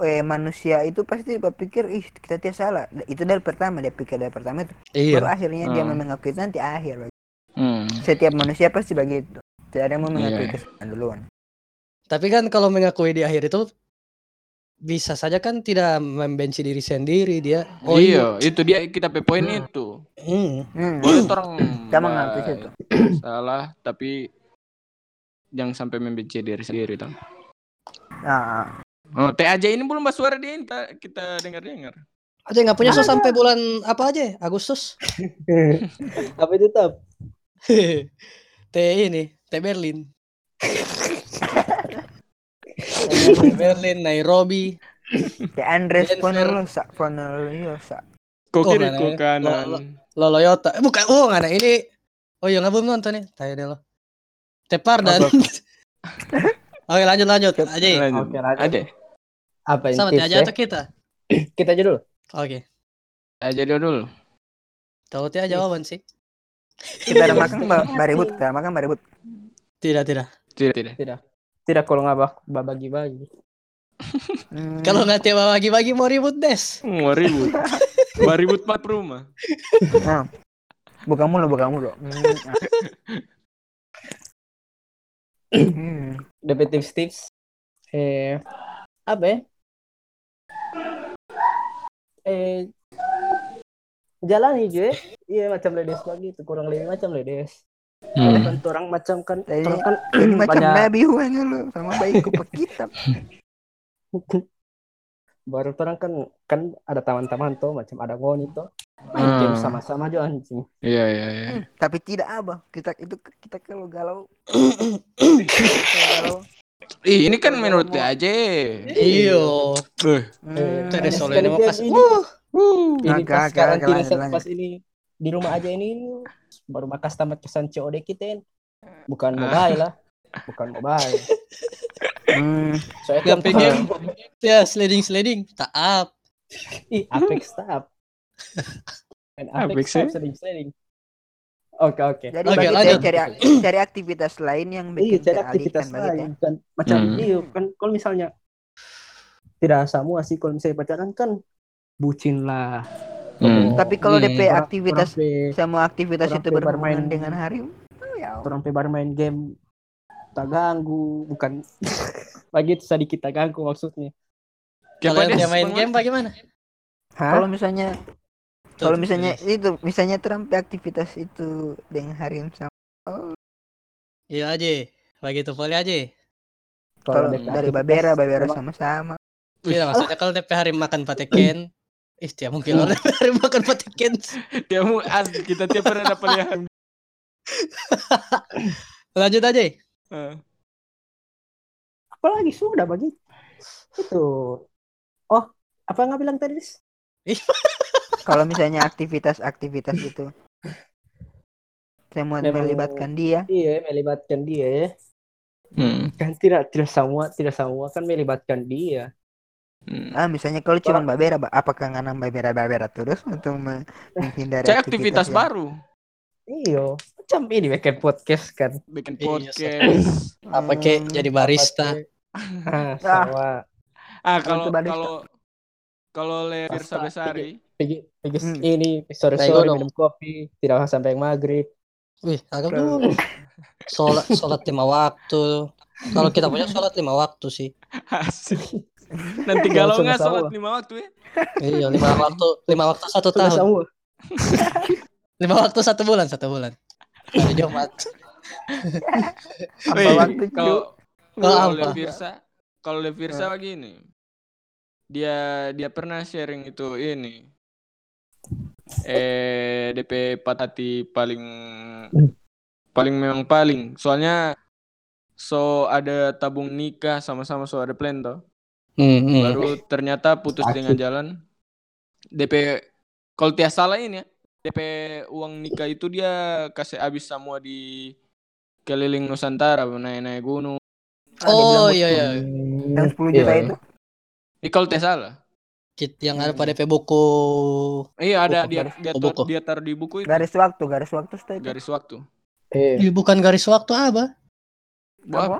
Speaker 2: eh, manusia itu pasti berpikir ih kita tidak salah. Itu dari pertama dia pikir dari pertama itu. Baru
Speaker 5: Iya.
Speaker 2: akhirnya dia
Speaker 4: Hmm.
Speaker 2: mengakui itu nanti akhir.
Speaker 4: Hmm.
Speaker 2: Setiap manusia pasti begitu. Tidak ada yang mau
Speaker 4: Iya.
Speaker 2: mengakui kesalahan duluan.
Speaker 5: Tapi kan kalau mengakui di akhir itu bisa saja kan tidak membenci diri sendiri dia. Oh iya.
Speaker 4: iya, itu dia kita pe poin itu.
Speaker 5: Hmm.
Speaker 2: Hmm.
Speaker 4: Boleh tuh orang
Speaker 2: Kita mengakui
Speaker 4: bah-
Speaker 2: itu.
Speaker 4: salah, tapi jangan sampai membenci diri sendiri. Tang.
Speaker 2: Nah,
Speaker 4: Oh, TAJ ini belum bahas suara dia, kita, kita dengar-dengar.
Speaker 5: Aja nggak punya so sampai bulan apa aja? ya? Agustus.
Speaker 3: apa itu tap?
Speaker 5: T E ini, T Berlin. T Berlin, Nairobi.
Speaker 2: The Ya, Andres
Speaker 5: Denver.
Speaker 2: Ponerosa, Ponerosa.
Speaker 4: Kok
Speaker 5: Oh,
Speaker 4: kiri,
Speaker 5: mana
Speaker 4: kok
Speaker 5: ya?
Speaker 4: kanan.
Speaker 5: Lo- Loloyota. Eh, bukan. Oh, nggak ada ini. Oh, iya nggak belum nonton nih. Tanya deh lo. Tepar dan.
Speaker 4: Apa?
Speaker 5: Oke, lanjut lanjut. Aji.
Speaker 4: Lanjut.
Speaker 3: Oke, lanjut.
Speaker 4: Ada.
Speaker 3: Apa ini?
Speaker 5: Sama
Speaker 3: tips,
Speaker 5: aja
Speaker 3: ya?
Speaker 5: atau kita?
Speaker 3: Kita aja dulu.
Speaker 5: Oke.
Speaker 4: TAJ dulu dulu.
Speaker 5: Tahu tiap jawaban sih.
Speaker 3: Iya,
Speaker 2: Kita ada makan ba- baribut, kita ada makan baribut.
Speaker 5: Tidak tidak.
Speaker 4: Tidak, tidak.
Speaker 3: Tidak kalau nggak bak- bak- bagi-bagi.
Speaker 2: Hmm.
Speaker 5: Kalau nggak tiap bagi-bagi mau ribut des.
Speaker 4: Mau ribut. Mau ribut empat rumah.
Speaker 2: bukan mulu, bukan mulu. Hmm. Hmm.
Speaker 3: dapat tips-tips eh apa ya? eh jalani cuy iya macam ledes lagi itu kurang lebih macam ledes
Speaker 5: Hmm.
Speaker 3: Kalau kan orang macam kan
Speaker 5: Eh.
Speaker 2: Jadi,
Speaker 3: orang kan
Speaker 2: Macam
Speaker 3: banyak
Speaker 2: babi huanya lu sama bayi kupak kita.
Speaker 3: baru orang kan kan ada taman-taman tuh macam ada ngoni tuh main game
Speaker 4: Hmm.
Speaker 3: sama-sama aja anjing
Speaker 4: Iya iya iya.
Speaker 2: Hmm, Tapi tidak apa. Kita itu kita kalau galau. Hmm.
Speaker 4: Ih, ini kan menurut aja.
Speaker 5: Iyo.
Speaker 4: Eh,
Speaker 3: Hmm.
Speaker 5: Terus
Speaker 3: Ada
Speaker 5: soalnya
Speaker 3: sekali
Speaker 5: mau kasih.
Speaker 3: jadi.
Speaker 5: Wuh.
Speaker 3: ini
Speaker 2: Agak,
Speaker 3: pas
Speaker 2: agak,
Speaker 3: karantina
Speaker 2: agak,
Speaker 3: saat
Speaker 2: agak.
Speaker 3: pas ini di rumah aja ini baru makas tamat kesan COD kita En. bukan
Speaker 2: Ah.
Speaker 3: mobile lah bukan mobile
Speaker 2: Hmm.
Speaker 3: soalnya
Speaker 5: Yang
Speaker 3: kan
Speaker 5: pengen. Ya sliding sliding. Taap.
Speaker 3: Ih, Apex Tab. Main
Speaker 4: Apex
Speaker 3: Apex Tab
Speaker 4: ya?
Speaker 3: sering-sering. Oke, oke.
Speaker 2: Jadi
Speaker 5: Oke,
Speaker 2: bagi saya
Speaker 5: lanjut.
Speaker 2: cari ak- cari aktivitas lain yang
Speaker 3: Iya,
Speaker 2: bikin ya.
Speaker 3: cari
Speaker 2: kita
Speaker 3: aktivitas
Speaker 2: alihkan bagi
Speaker 3: lain. Kan, macam
Speaker 4: Hmm.
Speaker 3: iya, kan kalau misalnya tidak semua sih kalau misalnya pacaran kan bucin lah.
Speaker 4: Hmm.
Speaker 2: Tapi kalau
Speaker 5: Hmm.
Speaker 2: DP aktivitas
Speaker 3: Iya, Orang-
Speaker 2: sama aktivitas
Speaker 3: orang
Speaker 2: itu
Speaker 3: pe
Speaker 2: berhubungan
Speaker 3: bermain-
Speaker 2: dengan hari. Oh, ya. Allah.
Speaker 3: Orang pe baru main game tak ganggu, bukan bagi itu sedikit tak ganggu maksudnya.
Speaker 5: Kalau
Speaker 4: Kepada
Speaker 5: yang dia main
Speaker 4: semua-
Speaker 5: game bagaimana?
Speaker 3: Hah?
Speaker 2: Kalau misalnya
Speaker 5: Tuh,
Speaker 2: kalau
Speaker 5: tuh,
Speaker 2: misalnya
Speaker 5: tuh.
Speaker 2: itu misalnya terampe aktivitas itu dengan hari sama
Speaker 5: Iya aja. Bagi itu volley aja.
Speaker 2: kalau
Speaker 3: ada
Speaker 2: dari
Speaker 3: aktivitas,
Speaker 2: Babera Babera
Speaker 3: memang-
Speaker 2: sama-sama.
Speaker 5: Iya maksudnya kalau DP hari makan pateken. Ih, tiap mungkin kalau DP hari makan pateken.
Speaker 4: Dia mau as kita tiap hari ada pilihan.
Speaker 5: Lanjut aja.
Speaker 4: Eh,
Speaker 3: Apalagi sudah bagi itu. Oh, apa nggak bilang tadi? Dis?
Speaker 2: Kalau misalnya aktivitas-aktivitas itu semua
Speaker 3: Memang-
Speaker 2: melibatkan dia.
Speaker 3: Iya, melibatkan dia ya.
Speaker 4: hmm.
Speaker 3: kan tidak tidak semua tidak semua kan melibatkan dia
Speaker 4: Hmm.
Speaker 2: Ah, misalnya kalau cuma Babera, Ba- apakah nganam Babera Babera terus untuk me- menghindari ya?
Speaker 4: Cari aktivitas
Speaker 2: yang-
Speaker 4: baru.
Speaker 3: iyo macam ini bikin podcast kan
Speaker 4: Bikin
Speaker 5: Iya,
Speaker 4: podcast.
Speaker 5: Apa kek
Speaker 2: Hmm.
Speaker 5: jadi barista?
Speaker 3: ah, sama
Speaker 4: ah kalau
Speaker 2: Itu barista.
Speaker 4: kalau kalau leher
Speaker 3: Pasta,
Speaker 4: sabesari
Speaker 3: pergi pergi s-
Speaker 2: Hmm.
Speaker 3: ini sore
Speaker 5: Tengok
Speaker 3: sore
Speaker 5: dong.
Speaker 3: minum kopi tidak usah sampai maghrib
Speaker 5: Wih, agak
Speaker 2: Kalau-
Speaker 5: dulu. Sholat, sholat lima waktu. Kalau kita punya sholat lima waktu sih.
Speaker 4: Asik. Nanti
Speaker 3: Langsung
Speaker 4: galau
Speaker 3: ke
Speaker 4: nggak
Speaker 3: sawah.
Speaker 4: sholat lima waktu ya?
Speaker 5: Iya, lima waktu, lima waktu satu
Speaker 3: Sudah
Speaker 5: tahun.
Speaker 3: semua
Speaker 5: Lima waktu satu bulan, satu bulan. Hari Jumat.
Speaker 2: Apa
Speaker 4: Wih,
Speaker 2: waktu
Speaker 4: kalau
Speaker 2: itu?
Speaker 4: kalau
Speaker 5: Ah, apa?
Speaker 4: Levirsa kalau Levirsa begini dia dia pernah sharing itu ini eh DP patati paling paling memang paling soalnya so ada tabung nikah sama-sama so ada plan toh
Speaker 5: Hmm, hmm.
Speaker 4: baru ternyata putus
Speaker 3: Asik.
Speaker 4: dengan jalan DP kalau tidak salah ini ya DP uang nikah itu dia kasih habis semua di keliling Nusantara naik-naik gunung
Speaker 2: Ah, dia bilang
Speaker 5: Oh iya iya.
Speaker 2: yang 10 juta
Speaker 3: Iya.
Speaker 2: itu.
Speaker 4: Ini kalau tidak salah
Speaker 5: Kit yang ada pada DP buku.
Speaker 4: Iya ada
Speaker 5: Buku,
Speaker 4: dia
Speaker 5: garis-
Speaker 4: dia,
Speaker 5: oh,
Speaker 4: tar-
Speaker 5: buku.
Speaker 4: dia taruh di buku itu
Speaker 2: Garis waktu, garis waktu setelah itu.
Speaker 4: garis waktu.
Speaker 3: Eh,
Speaker 2: Iya.
Speaker 5: Ih, bukan garis waktu apa?
Speaker 2: Apa?
Speaker 4: Apa?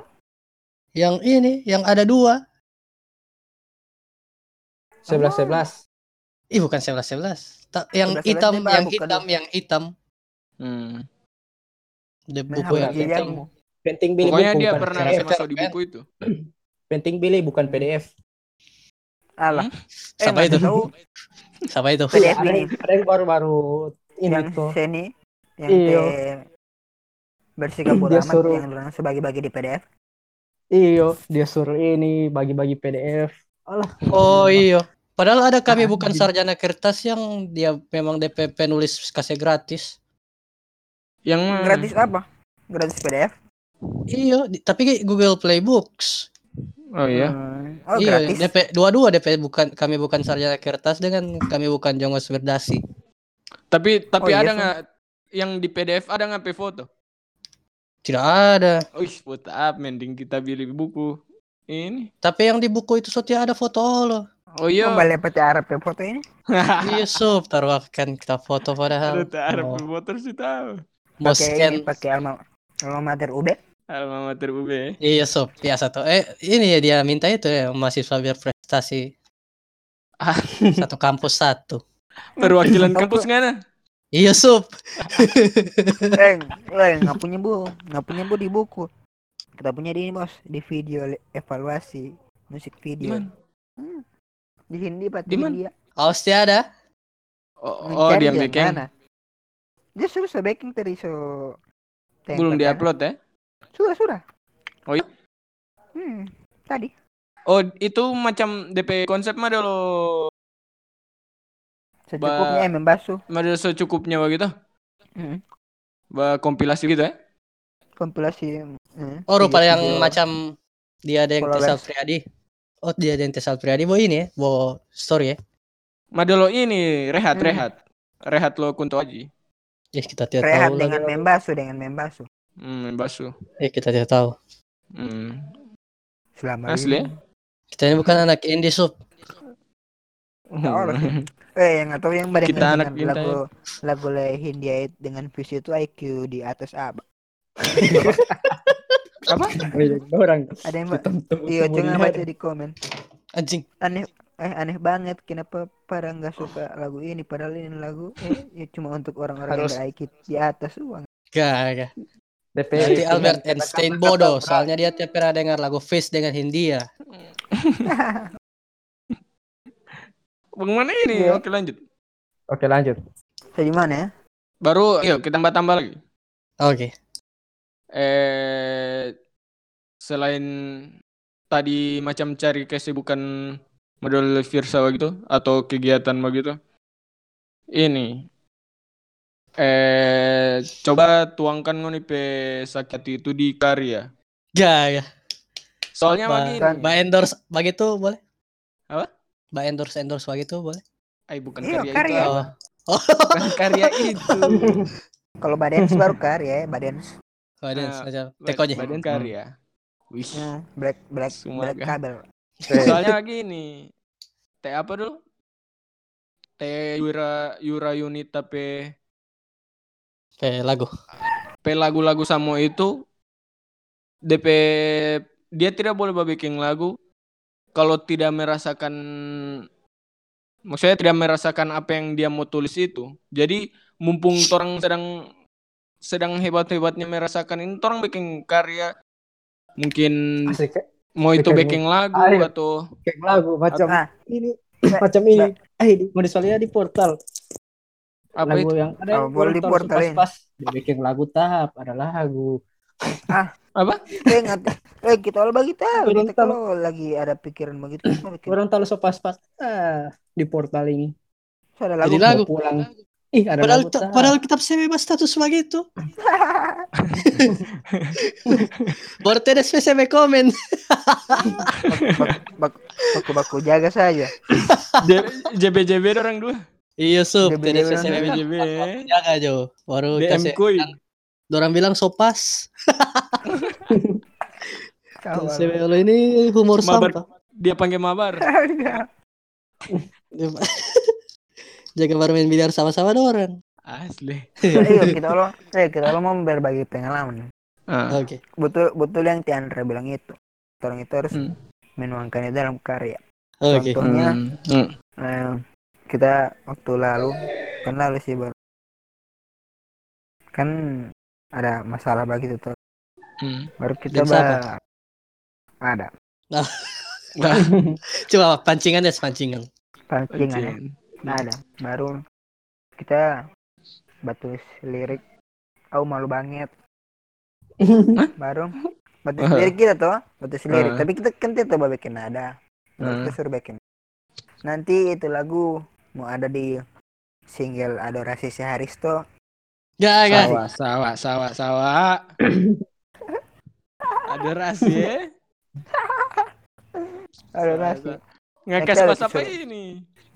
Speaker 5: Yang ini, yang ada dua.
Speaker 3: sebelas sebelas
Speaker 5: Ih, bukan sebelas sebelas. Ta- yang
Speaker 2: 11-11
Speaker 5: hitam,
Speaker 2: Pak,
Speaker 5: yang
Speaker 2: bukan
Speaker 5: hitam, yang hitam.
Speaker 4: Hmm.
Speaker 5: Di
Speaker 2: Nah,
Speaker 5: buku yang
Speaker 2: jadi
Speaker 5: hitam.
Speaker 2: yang-
Speaker 3: penting beli
Speaker 4: Pokoknya
Speaker 3: buku
Speaker 4: dia
Speaker 3: bukan
Speaker 4: pernah
Speaker 5: garis
Speaker 3: PDF.
Speaker 5: F-
Speaker 4: masuk di
Speaker 5: F-
Speaker 4: buku itu.
Speaker 3: penting beli bukan PDF
Speaker 2: Alah,
Speaker 5: Siapa
Speaker 2: nggak
Speaker 5: itu?
Speaker 2: tahu
Speaker 5: Siapa itu?
Speaker 2: PDF
Speaker 3: ada
Speaker 2: ini
Speaker 3: yang, ada yang baru baru ini
Speaker 2: yang
Speaker 3: tuh
Speaker 2: seni yang
Speaker 3: Iya.
Speaker 2: teh bersikap bodo
Speaker 3: Dia
Speaker 2: amat
Speaker 3: suruh-
Speaker 2: yang orang sebagi-bagi di PDF.
Speaker 3: iyo dia suruh ini bagi bagi PDF
Speaker 5: Oh iya. Padahal ada
Speaker 3: Ah,
Speaker 2: Nah,
Speaker 5: kami
Speaker 2: iya.
Speaker 5: bukan
Speaker 3: di-
Speaker 5: sarjana kertas yang dia memang DP penulis kasih gratis.
Speaker 4: Yang mana?
Speaker 2: Gratis apa? Gratis PDF.
Speaker 5: Iya, di- tapi kayak Google Play Books.
Speaker 4: Oh iya.
Speaker 2: Hmm. Oh,
Speaker 5: iya,
Speaker 2: gratis.
Speaker 5: DP dua-dua DP bukan kami bukan sarjana kertas dengan kami bukan Jongos Berdasi.
Speaker 4: Tapi
Speaker 2: Oh,
Speaker 4: tapi
Speaker 2: iya,
Speaker 4: ada
Speaker 2: Son.
Speaker 4: nggak yang di PDF ada nggak pe foto?
Speaker 5: Tidak ada.
Speaker 4: Wih, foto up mending kita beli buku. Ini.
Speaker 5: Tapi yang di buku itu soalnya ada foto lo.
Speaker 4: Oh iya.
Speaker 2: Kembali peti Arab ya foto ini.
Speaker 5: iya, sob, taruh akan kita foto
Speaker 4: Aduh,
Speaker 5: padahal. Oh.
Speaker 4: tak ada
Speaker 2: Oh.
Speaker 5: Mau-
Speaker 4: motor sih tahu.
Speaker 5: Mau
Speaker 2: Pakai
Speaker 5: scan.
Speaker 2: ini, pakai alma alma mater UB.
Speaker 4: Alma mater UB.
Speaker 5: Iya, sob, biasa tuh. Eh, ini ya dia minta itu ya mahasiswa berprestasi.
Speaker 4: Ah.
Speaker 5: satu kampus satu.
Speaker 4: Perwakilan kampus nggak ada?
Speaker 5: Iya, sob.
Speaker 2: eh, eh, nggak punya bu, nggak punya bu di buku. kita punya di ini bos di video le- evaluasi musik video
Speaker 4: Gimana?
Speaker 2: Hmm. di Hindi pak di
Speaker 4: Di mana?
Speaker 2: India
Speaker 5: Austia ada
Speaker 4: Oh, oh,
Speaker 2: Mencari
Speaker 4: dia
Speaker 2: yang
Speaker 4: bikin
Speaker 2: ya, mana? dia suruh sebaking tadi so Tengok,
Speaker 4: belum diupload ya?
Speaker 2: kan? sudah sudah
Speaker 4: Oh, iya?
Speaker 2: hmm tadi
Speaker 4: Oh, itu macam DP konsep mah dulu
Speaker 2: secukupnya yang membasuh
Speaker 4: ada secukupnya begitu.
Speaker 2: Hmm.
Speaker 4: Ba kompilasi gitu ya.
Speaker 2: kompilasi hmm,
Speaker 5: oh rupa
Speaker 2: video-
Speaker 5: yang
Speaker 2: video.
Speaker 5: macam dia ada yang
Speaker 2: Pola
Speaker 5: Tesal
Speaker 2: lens.
Speaker 5: Priadi oh dia ada yang Tesal Priadi bo ini ya bo story ya
Speaker 4: Madolo ini rehat
Speaker 2: Hmm.
Speaker 4: rehat. Rehat lo kunto aji.
Speaker 5: eh kita
Speaker 4: Ya,
Speaker 5: tidak
Speaker 2: rehat
Speaker 5: tahu lagi.
Speaker 2: dengan membasuh dengan membasuh
Speaker 4: Hmm, basu.
Speaker 5: eh kita tidak tahu
Speaker 4: Hmm.
Speaker 2: selama
Speaker 4: Asli ya?
Speaker 2: ini.
Speaker 5: kita ini
Speaker 2: Hmm.
Speaker 5: bukan anak indie sub
Speaker 2: Allah. eh yang atau yang bareng
Speaker 4: Kita anak ya?
Speaker 2: dengan
Speaker 4: minta
Speaker 2: lagu lagu le Hindia dengan visi itu IQ di atas apa
Speaker 4: Apa?
Speaker 3: orang
Speaker 2: ada yang ba- iya jangan baca di komen
Speaker 5: anjing
Speaker 2: aneh eh aneh banget kenapa para nggak suka lagu ini padahal ini lagu eh, ya cuma untuk orang-orang yang
Speaker 5: Harus-
Speaker 2: berIQ di atas uang
Speaker 5: gak gak
Speaker 3: DP
Speaker 5: Nanti Albert
Speaker 3: Cuman
Speaker 5: Einstein
Speaker 3: kata-kata
Speaker 5: bodoh,
Speaker 3: berat.
Speaker 5: soalnya dia tiap pernah dengar lagu Fish dengan ya. Hindia.
Speaker 4: Bagaimana ini?
Speaker 2: Iya.
Speaker 4: Oke, lanjut.
Speaker 3: Oke lanjut.
Speaker 2: jadi mana ya
Speaker 4: Baru yuk kita tambah-tambah lagi.
Speaker 5: Oke.
Speaker 4: Eh selain tadi macam cari kesibukan model Virsa gitu atau kegiatan begitu. Ini eh coba tuangkan ngoni pe sakit hati itu di karya.
Speaker 5: Gak, gak.
Speaker 4: Soalnya
Speaker 5: Ba-
Speaker 4: lagi
Speaker 5: Ba endorse begitu boleh?
Speaker 4: Apa?
Speaker 5: Ba endorse endorse begitu boleh?
Speaker 4: Ay, bukan
Speaker 2: Iya,
Speaker 4: karya,
Speaker 2: karya. Oh.
Speaker 4: itu.
Speaker 5: Oh.
Speaker 4: ah. Bukan karya itu.
Speaker 2: kalau badan baru karya ya badan
Speaker 4: Ah,
Speaker 5: Badan saja. Teko aja.
Speaker 4: Badan karya. Wih.
Speaker 2: Hmm, black black
Speaker 4: Semua
Speaker 2: black
Speaker 4: kan.
Speaker 2: kabel Nah,
Speaker 4: Soalnya gini. T apa dulu? T Yura Yura Yunita P
Speaker 5: Kayak lagu.
Speaker 4: P lagu-lagu samo itu DP dia tidak boleh bikin lagu kalau tidak merasakan maksudnya tidak merasakan apa yang dia mau tulis itu. Jadi mumpung orang sedang sedang hebat-hebatnya merasakan ini orang bikin karya mungkin
Speaker 3: Asik ya?
Speaker 4: mau itu
Speaker 3: Bikin-
Speaker 4: bikin lagu
Speaker 3: Ayo.
Speaker 4: atau
Speaker 3: kayak lagu macam
Speaker 2: Ah.
Speaker 3: ini
Speaker 2: Ba-
Speaker 3: macam ini. Eh, di misalnya di portal
Speaker 4: apa
Speaker 3: lagu
Speaker 4: itu
Speaker 3: yang ada
Speaker 2: Oh, boleh di portalin.
Speaker 3: pas bikin lagu tahap ada lagu
Speaker 2: eh nggak eh kita all bagi tahu
Speaker 3: Turun
Speaker 2: kita kalau lagi ada pikiran begitu kita bikin
Speaker 3: orang tahu so pas-pas ah, di portal ini
Speaker 2: so, ada
Speaker 5: Jadi
Speaker 2: lagu
Speaker 5: lagu.
Speaker 3: Mau pulang ih ada
Speaker 5: Padahal
Speaker 3: lagu
Speaker 5: ta-
Speaker 3: tahap.
Speaker 5: padahal kitab saya bebas status begitu. Baru tidak SPCB komen.
Speaker 2: Bak- bak- baku-baku jaga saja
Speaker 4: JBJB orang dua
Speaker 5: Iya, sub.
Speaker 2: Dia bilang-
Speaker 5: Tidak SPCB
Speaker 4: JBJB
Speaker 5: jaga Jo. Baru
Speaker 4: DM
Speaker 5: kasih.
Speaker 4: kuy
Speaker 5: Orang bilang sopas.
Speaker 2: Kawal.
Speaker 5: SPCB lo ini humor
Speaker 4: Mabar.
Speaker 5: sampah.
Speaker 4: dia panggil mabar
Speaker 5: Jaga baru main biliar sama-sama ada orang.
Speaker 4: asli
Speaker 2: ayo Iya, kita all ayo kita all mau berbagi pengalaman
Speaker 4: Ah.
Speaker 5: Oke.
Speaker 2: betul betul yang Tiandra bilang itu orang itu harus
Speaker 4: Hmm.
Speaker 2: menuangkannya dalam karya
Speaker 5: Oke.
Speaker 2: Contohnya,
Speaker 4: Hmm. Hmm.
Speaker 2: eh, kita waktu lalu kan lalu sih baru kan ada masalah begitu tuh
Speaker 4: Hmm.
Speaker 2: baru kita
Speaker 5: Dan
Speaker 2: bah- ada
Speaker 5: Coba pancingan deh, pancingan.
Speaker 2: pancingan ya.
Speaker 4: Anjing.
Speaker 2: Nah, ada baru kita batulis lirik au malu banget baru batulis
Speaker 4: Aha.
Speaker 2: lirik kita tuh batulis lirik
Speaker 4: Ah.
Speaker 2: tapi kita kan tidak tahu bikin ada
Speaker 4: Ah.
Speaker 2: baru kita suruh bikin nanti itu lagu mau ada di single adorasi si Haristo
Speaker 5: Gak, gak.
Speaker 4: Sawah, sawah, sawah, sawah. Ada rasi ya?
Speaker 2: adorasi
Speaker 4: Ngekas
Speaker 2: Ngekel,
Speaker 4: pas apa
Speaker 2: cuy.
Speaker 4: ini?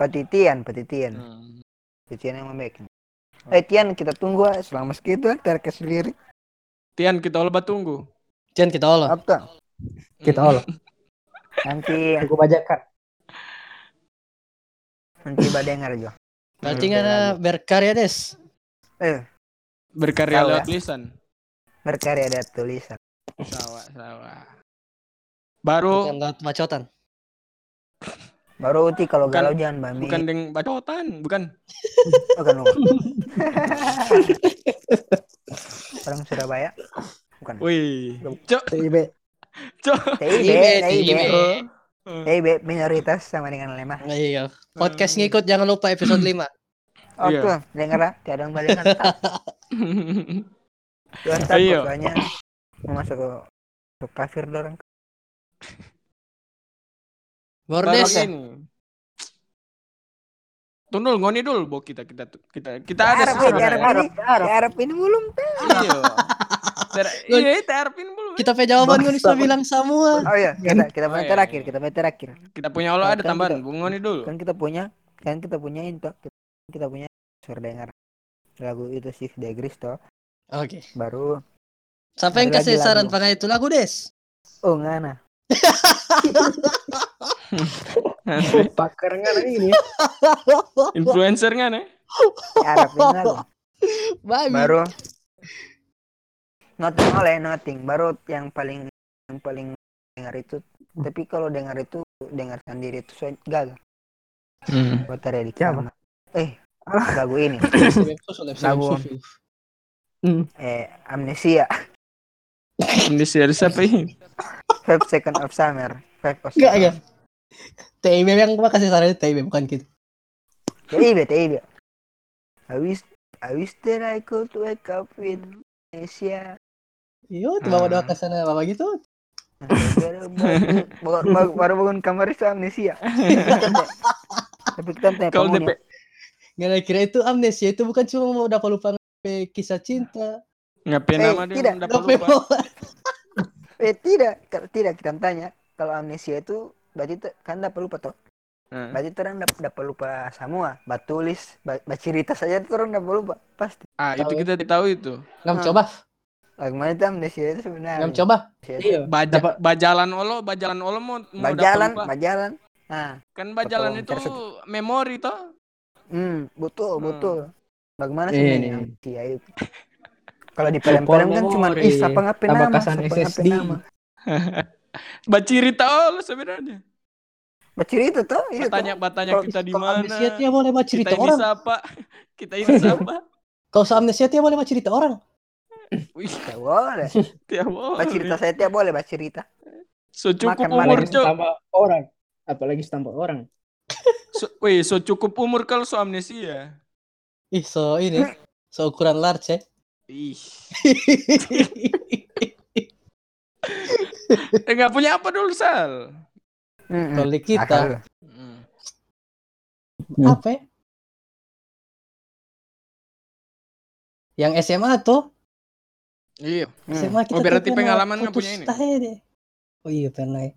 Speaker 2: petitian petitian
Speaker 4: Hmm.
Speaker 2: petitian yang membuat eh Tian kita tunggu ah. selama segitu terkes lirik
Speaker 4: Tian kita olah tunggu.
Speaker 5: Jangan kita olah.
Speaker 2: apa tuh?
Speaker 3: kita
Speaker 4: Hmm.
Speaker 3: olah
Speaker 2: nanti
Speaker 3: aku bajakan
Speaker 2: nanti badengar jo
Speaker 5: Pancingan ah, berkarya des.
Speaker 4: Berkarya
Speaker 2: Sawah.
Speaker 4: lewat lisan.
Speaker 2: berkarya ada tulisan
Speaker 4: Sawah, sawah. Baru
Speaker 5: Bukan lewat bacotan.
Speaker 2: baru uti kalau
Speaker 4: Bukan-
Speaker 2: galau jangan bami
Speaker 4: bukan deng bacotan, bukan.
Speaker 2: kan Bukan Om. Orang Surabaya. Bukan.
Speaker 4: Wih. Cok,
Speaker 2: TIB.
Speaker 4: cok.
Speaker 2: TIB,
Speaker 5: TIB,
Speaker 2: TIB.
Speaker 5: TIB.
Speaker 2: TIB minoritas sama dengan lemah.
Speaker 5: Iya. Podcast ngikut jangan lupa episode 5.
Speaker 2: Oh
Speaker 4: Iya.
Speaker 2: tuh, denger lah, kadang balik mantap. Mantap
Speaker 4: Iya.
Speaker 2: pokoknya. Mau masuk ke masuk kafir dorong.
Speaker 5: Bordes.
Speaker 4: Barang ini. Tundul ngoni dul bo kita kita kita kita
Speaker 2: Di
Speaker 4: ada
Speaker 2: Arab,
Speaker 4: sesuatu
Speaker 2: di Arab,
Speaker 4: ya.
Speaker 2: di Arab. Di Arab ini belum.
Speaker 4: Iya. Ter- Iya, terpin belum. ya.
Speaker 5: Kita pe jawaban gue bisa bilang semua.
Speaker 2: Oh iya, kita kita
Speaker 4: Oh,
Speaker 2: main
Speaker 4: iya.
Speaker 2: terakhir, kita main terakhir.
Speaker 4: Kita punya Allah ada
Speaker 2: Kan
Speaker 4: tambahan,
Speaker 2: kita-
Speaker 4: Bu ngoni dul.
Speaker 2: Kan kita punya, kan kita punya itu, kita punya sur dengar lagu itu sih De Cristo
Speaker 5: Oke.
Speaker 2: baru
Speaker 5: Siapa yang
Speaker 2: Ada
Speaker 5: kasih
Speaker 2: lagi
Speaker 5: saran
Speaker 2: lagu.
Speaker 5: pakai itu lagu, Des?
Speaker 2: oh ngana
Speaker 3: Pakar nggak ini.
Speaker 4: Influencer kan ya?
Speaker 2: Arab ini lagu
Speaker 5: Babi.
Speaker 2: baru nothing oleh nothing baru yang paling yang paling dengar itu tapi kalau dengar itu dengar sendiri itu so- gagal
Speaker 5: Hmm.
Speaker 2: buat redik
Speaker 3: Siapa?
Speaker 2: eh
Speaker 3: Alah.
Speaker 2: lagu ini Lagu. eh amnesia
Speaker 4: Ini series apa ini?
Speaker 2: five second of summer five of
Speaker 5: Enggak, ya.
Speaker 2: summer
Speaker 5: enggak. TIB yang gua kasih saran itu TIB bukan kita.
Speaker 2: TIB TIB iya, I wish I wish that I could wake up with amnesia
Speaker 5: Yo, Iya,
Speaker 2: Hmm.
Speaker 5: bawa doa ke sana bawa gitu.
Speaker 2: baru bangun- baru- baru baru bangun kamar itu amnesia tapi kita ya. tanya
Speaker 4: Kalau
Speaker 2: penghuni.
Speaker 4: DP
Speaker 5: Gara kira itu amnesia itu bukan cuma mau dapat lupa nge- kisah cinta.
Speaker 4: ngapain
Speaker 2: Eh,
Speaker 4: nama dia
Speaker 2: tidak.
Speaker 4: dapat
Speaker 5: Tapi
Speaker 4: lupa.
Speaker 5: mau-
Speaker 2: Eh tidak, Ka- tidak kita tanya. Kalau amnesia itu berarti te- kan dapat lupa toh.
Speaker 4: Nah,
Speaker 2: Berarti terang dapat lupa semua. Batulis, ba- bacerita saja terang dapat lupa. Pasti.
Speaker 4: Ah, itu kita tahu itu.
Speaker 5: Ngam coba,
Speaker 2: Bagaimana itu amnesia itu sebenarnya?
Speaker 5: ngam coba.
Speaker 2: Amnesia itu
Speaker 3: Iya.
Speaker 4: Baja, bajalan olo, bajalan olo mau mau dapat
Speaker 2: Bajalan,
Speaker 4: lupa.
Speaker 2: bajalan. Nah,
Speaker 4: kan bajalan
Speaker 2: Betul,
Speaker 4: itu
Speaker 2: tersebut.
Speaker 4: memori toh.
Speaker 2: hmm, betul,
Speaker 4: Hmm.
Speaker 2: betul. Bagaimana
Speaker 3: Iya,
Speaker 2: sih ini
Speaker 3: iya.
Speaker 2: amnesia itu? Kalau di film-film kan cuma
Speaker 3: memori.
Speaker 2: is apa ngapain nama,
Speaker 3: Tabakasan
Speaker 2: siapa ngapain
Speaker 3: SSD.
Speaker 2: nama.
Speaker 4: Bacerita olo sebenarnya.
Speaker 2: Bacerita toh, iya toh.
Speaker 4: Batanya-batanya
Speaker 2: Kalau-
Speaker 4: kita di
Speaker 5: Kalau
Speaker 4: mana?
Speaker 5: amnesia ya, dia boleh baca
Speaker 4: Kita
Speaker 5: cerita
Speaker 4: ini
Speaker 5: orang.
Speaker 4: siapa? Kita ini siapa?
Speaker 5: Kalau usah amnesia dia boleh baca cerita orang.
Speaker 4: Wih,
Speaker 2: Tidak Ya boleh.
Speaker 4: tiap orang.
Speaker 2: Bacerita saya tidak boleh bacerita.
Speaker 4: So cukup
Speaker 2: Makan
Speaker 4: umur,
Speaker 2: manis.
Speaker 3: Apalagi
Speaker 4: Cok.
Speaker 3: tambah orang. Apalagi tambah orang.
Speaker 4: So, wih, so cukup umur kalau so amnesia.
Speaker 5: Ih, so ini. So ukuran large ya.
Speaker 4: Ih. Enggak Eh, punya apa dulu, Sal?
Speaker 2: Mm-mm.
Speaker 5: Kalau di kita
Speaker 2: Akal.
Speaker 3: Hmm.
Speaker 5: apa ya? Yang SMA tuh,
Speaker 4: Iya.
Speaker 2: Hmm.
Speaker 5: SMA
Speaker 4: Oh,
Speaker 5: kita tuh
Speaker 4: berarti
Speaker 5: pernah
Speaker 4: pengalaman nggak
Speaker 5: putus
Speaker 4: punya ini?
Speaker 5: tahe deh. Oh iya pernah ya.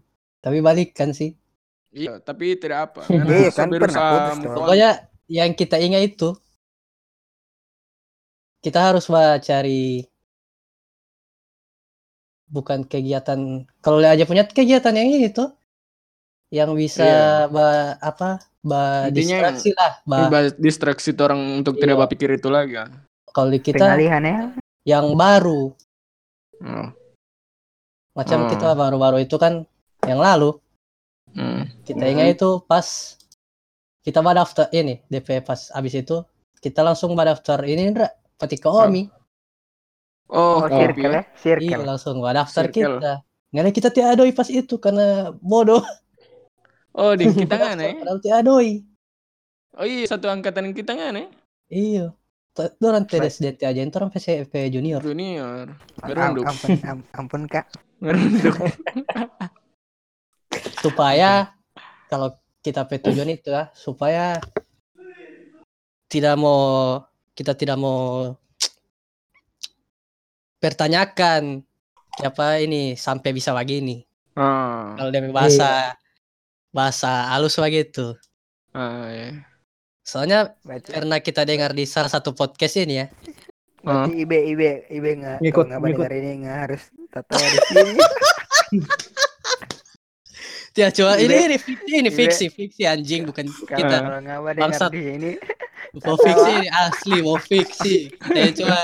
Speaker 5: Tapi balik kan sih.
Speaker 4: Iya, tapi tidak apa.
Speaker 2: Iya,
Speaker 4: so
Speaker 2: kan
Speaker 4: berusaha
Speaker 2: pernah putus,
Speaker 4: move
Speaker 2: Cok.
Speaker 4: on.
Speaker 5: Pokoknya yang kita ingat itu kita harus bah, cari bukan kegiatan kalau aja punya kegiatan yang ini tuh yang bisa bah, apa bah,
Speaker 4: Iya. Intinya yang-
Speaker 5: distraksi lah bah,
Speaker 4: Bahas distraksi orang untuk tidak
Speaker 5: Iya.
Speaker 4: berpikir itu lagi. ya.
Speaker 5: kalau di kita
Speaker 2: Pengalihan ya.
Speaker 5: yang baru
Speaker 4: Oh.
Speaker 5: macam
Speaker 4: Hmm.
Speaker 5: kita baru-baru itu kan yang lalu
Speaker 4: Hmm.
Speaker 5: kita ingat itu pas kita bah daftar ini DP pas abis itu kita langsung bah daftar ini Ndra Patika Omi
Speaker 4: Oh,
Speaker 2: Oh,
Speaker 4: kopi.
Speaker 2: circle ya, circle.
Speaker 5: Iya langsung gua daftar
Speaker 4: Circle.
Speaker 5: kita. Nggak kita tiadoi pas itu karena bodoh.
Speaker 4: Oh, di kita kan ya?
Speaker 5: Padahal tiadoi.
Speaker 4: Oh iya, satu angkatan kita kan ya?
Speaker 5: Iya. T- Itu orang TDS DT aja, itu orang PCP junior.
Speaker 4: Junior.
Speaker 2: Am-
Speaker 4: Berunduk.
Speaker 2: ampun, am- ampun kak.
Speaker 4: Berunduk.
Speaker 5: Supaya kalau kita P tujuan itu ya, supaya tidak mau kita tidak mau pertanyakan siapa ini sampai bisa begini.
Speaker 4: Ah.
Speaker 5: Kalau dia bahasa bahasa halus begitu.
Speaker 4: Ah, iya.
Speaker 5: Soalnya
Speaker 2: Berarti,
Speaker 5: karena kita dengar di salah satu podcast ini ya,
Speaker 4: Ah.
Speaker 2: berarti IB IB IB nggak
Speaker 3: Ngikut,
Speaker 2: nggak
Speaker 3: ngikut.
Speaker 2: dengar ini nggak harus tato di sini.
Speaker 5: Ya coba ini
Speaker 2: Gile.
Speaker 5: ini fiksi ini
Speaker 2: Gile.
Speaker 5: fiksi fiksi anjing bukan
Speaker 2: Kalau
Speaker 5: kita
Speaker 2: kalau nggak dengar
Speaker 5: Bangsat.
Speaker 2: di sini,
Speaker 5: mau fiksi ini asli mau fiksi kita coba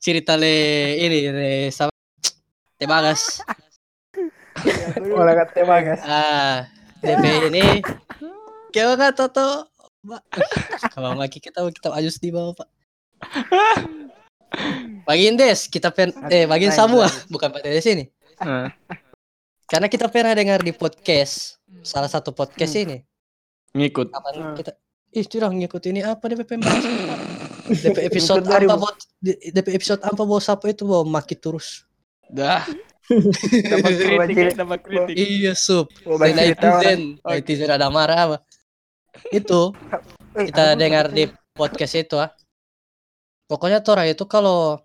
Speaker 5: cerita le ini le sama Teh Bagas
Speaker 2: Ya,
Speaker 3: Olah kata bagas.
Speaker 5: ah DP ini kau nggak Toto Ba- kalau lagi kita kita ajus di bawah pak Bagiin Des, kita pen eh bagiin
Speaker 2: Lain,
Speaker 5: semua,
Speaker 2: lain.
Speaker 5: bukan pada di sini.
Speaker 4: Nah,
Speaker 5: Ah. Karena kita pernah dengar di podcast salah satu podcast ini.
Speaker 4: ngikut.
Speaker 5: Kapan
Speaker 2: Nah.
Speaker 3: Hmm.
Speaker 5: kita Ih, curang ngikut ini apa DPP Mas? DP episode
Speaker 2: Ngikut dari-
Speaker 5: apa bot DP episode apa bawa sapu itu bawa maki terus.
Speaker 4: Dah. Tambah kritik, ya, tambah kritik.
Speaker 5: Iya, sup.
Speaker 2: Mau
Speaker 5: Dan
Speaker 2: bagi cerita orang.
Speaker 5: netizen,
Speaker 4: Oke.
Speaker 5: netizen Nah, ada marah apa. Itu
Speaker 2: Eh,
Speaker 5: kita
Speaker 2: apa
Speaker 5: dengar
Speaker 2: sih?
Speaker 5: di podcast itu ah. Pokoknya Tora itu kalau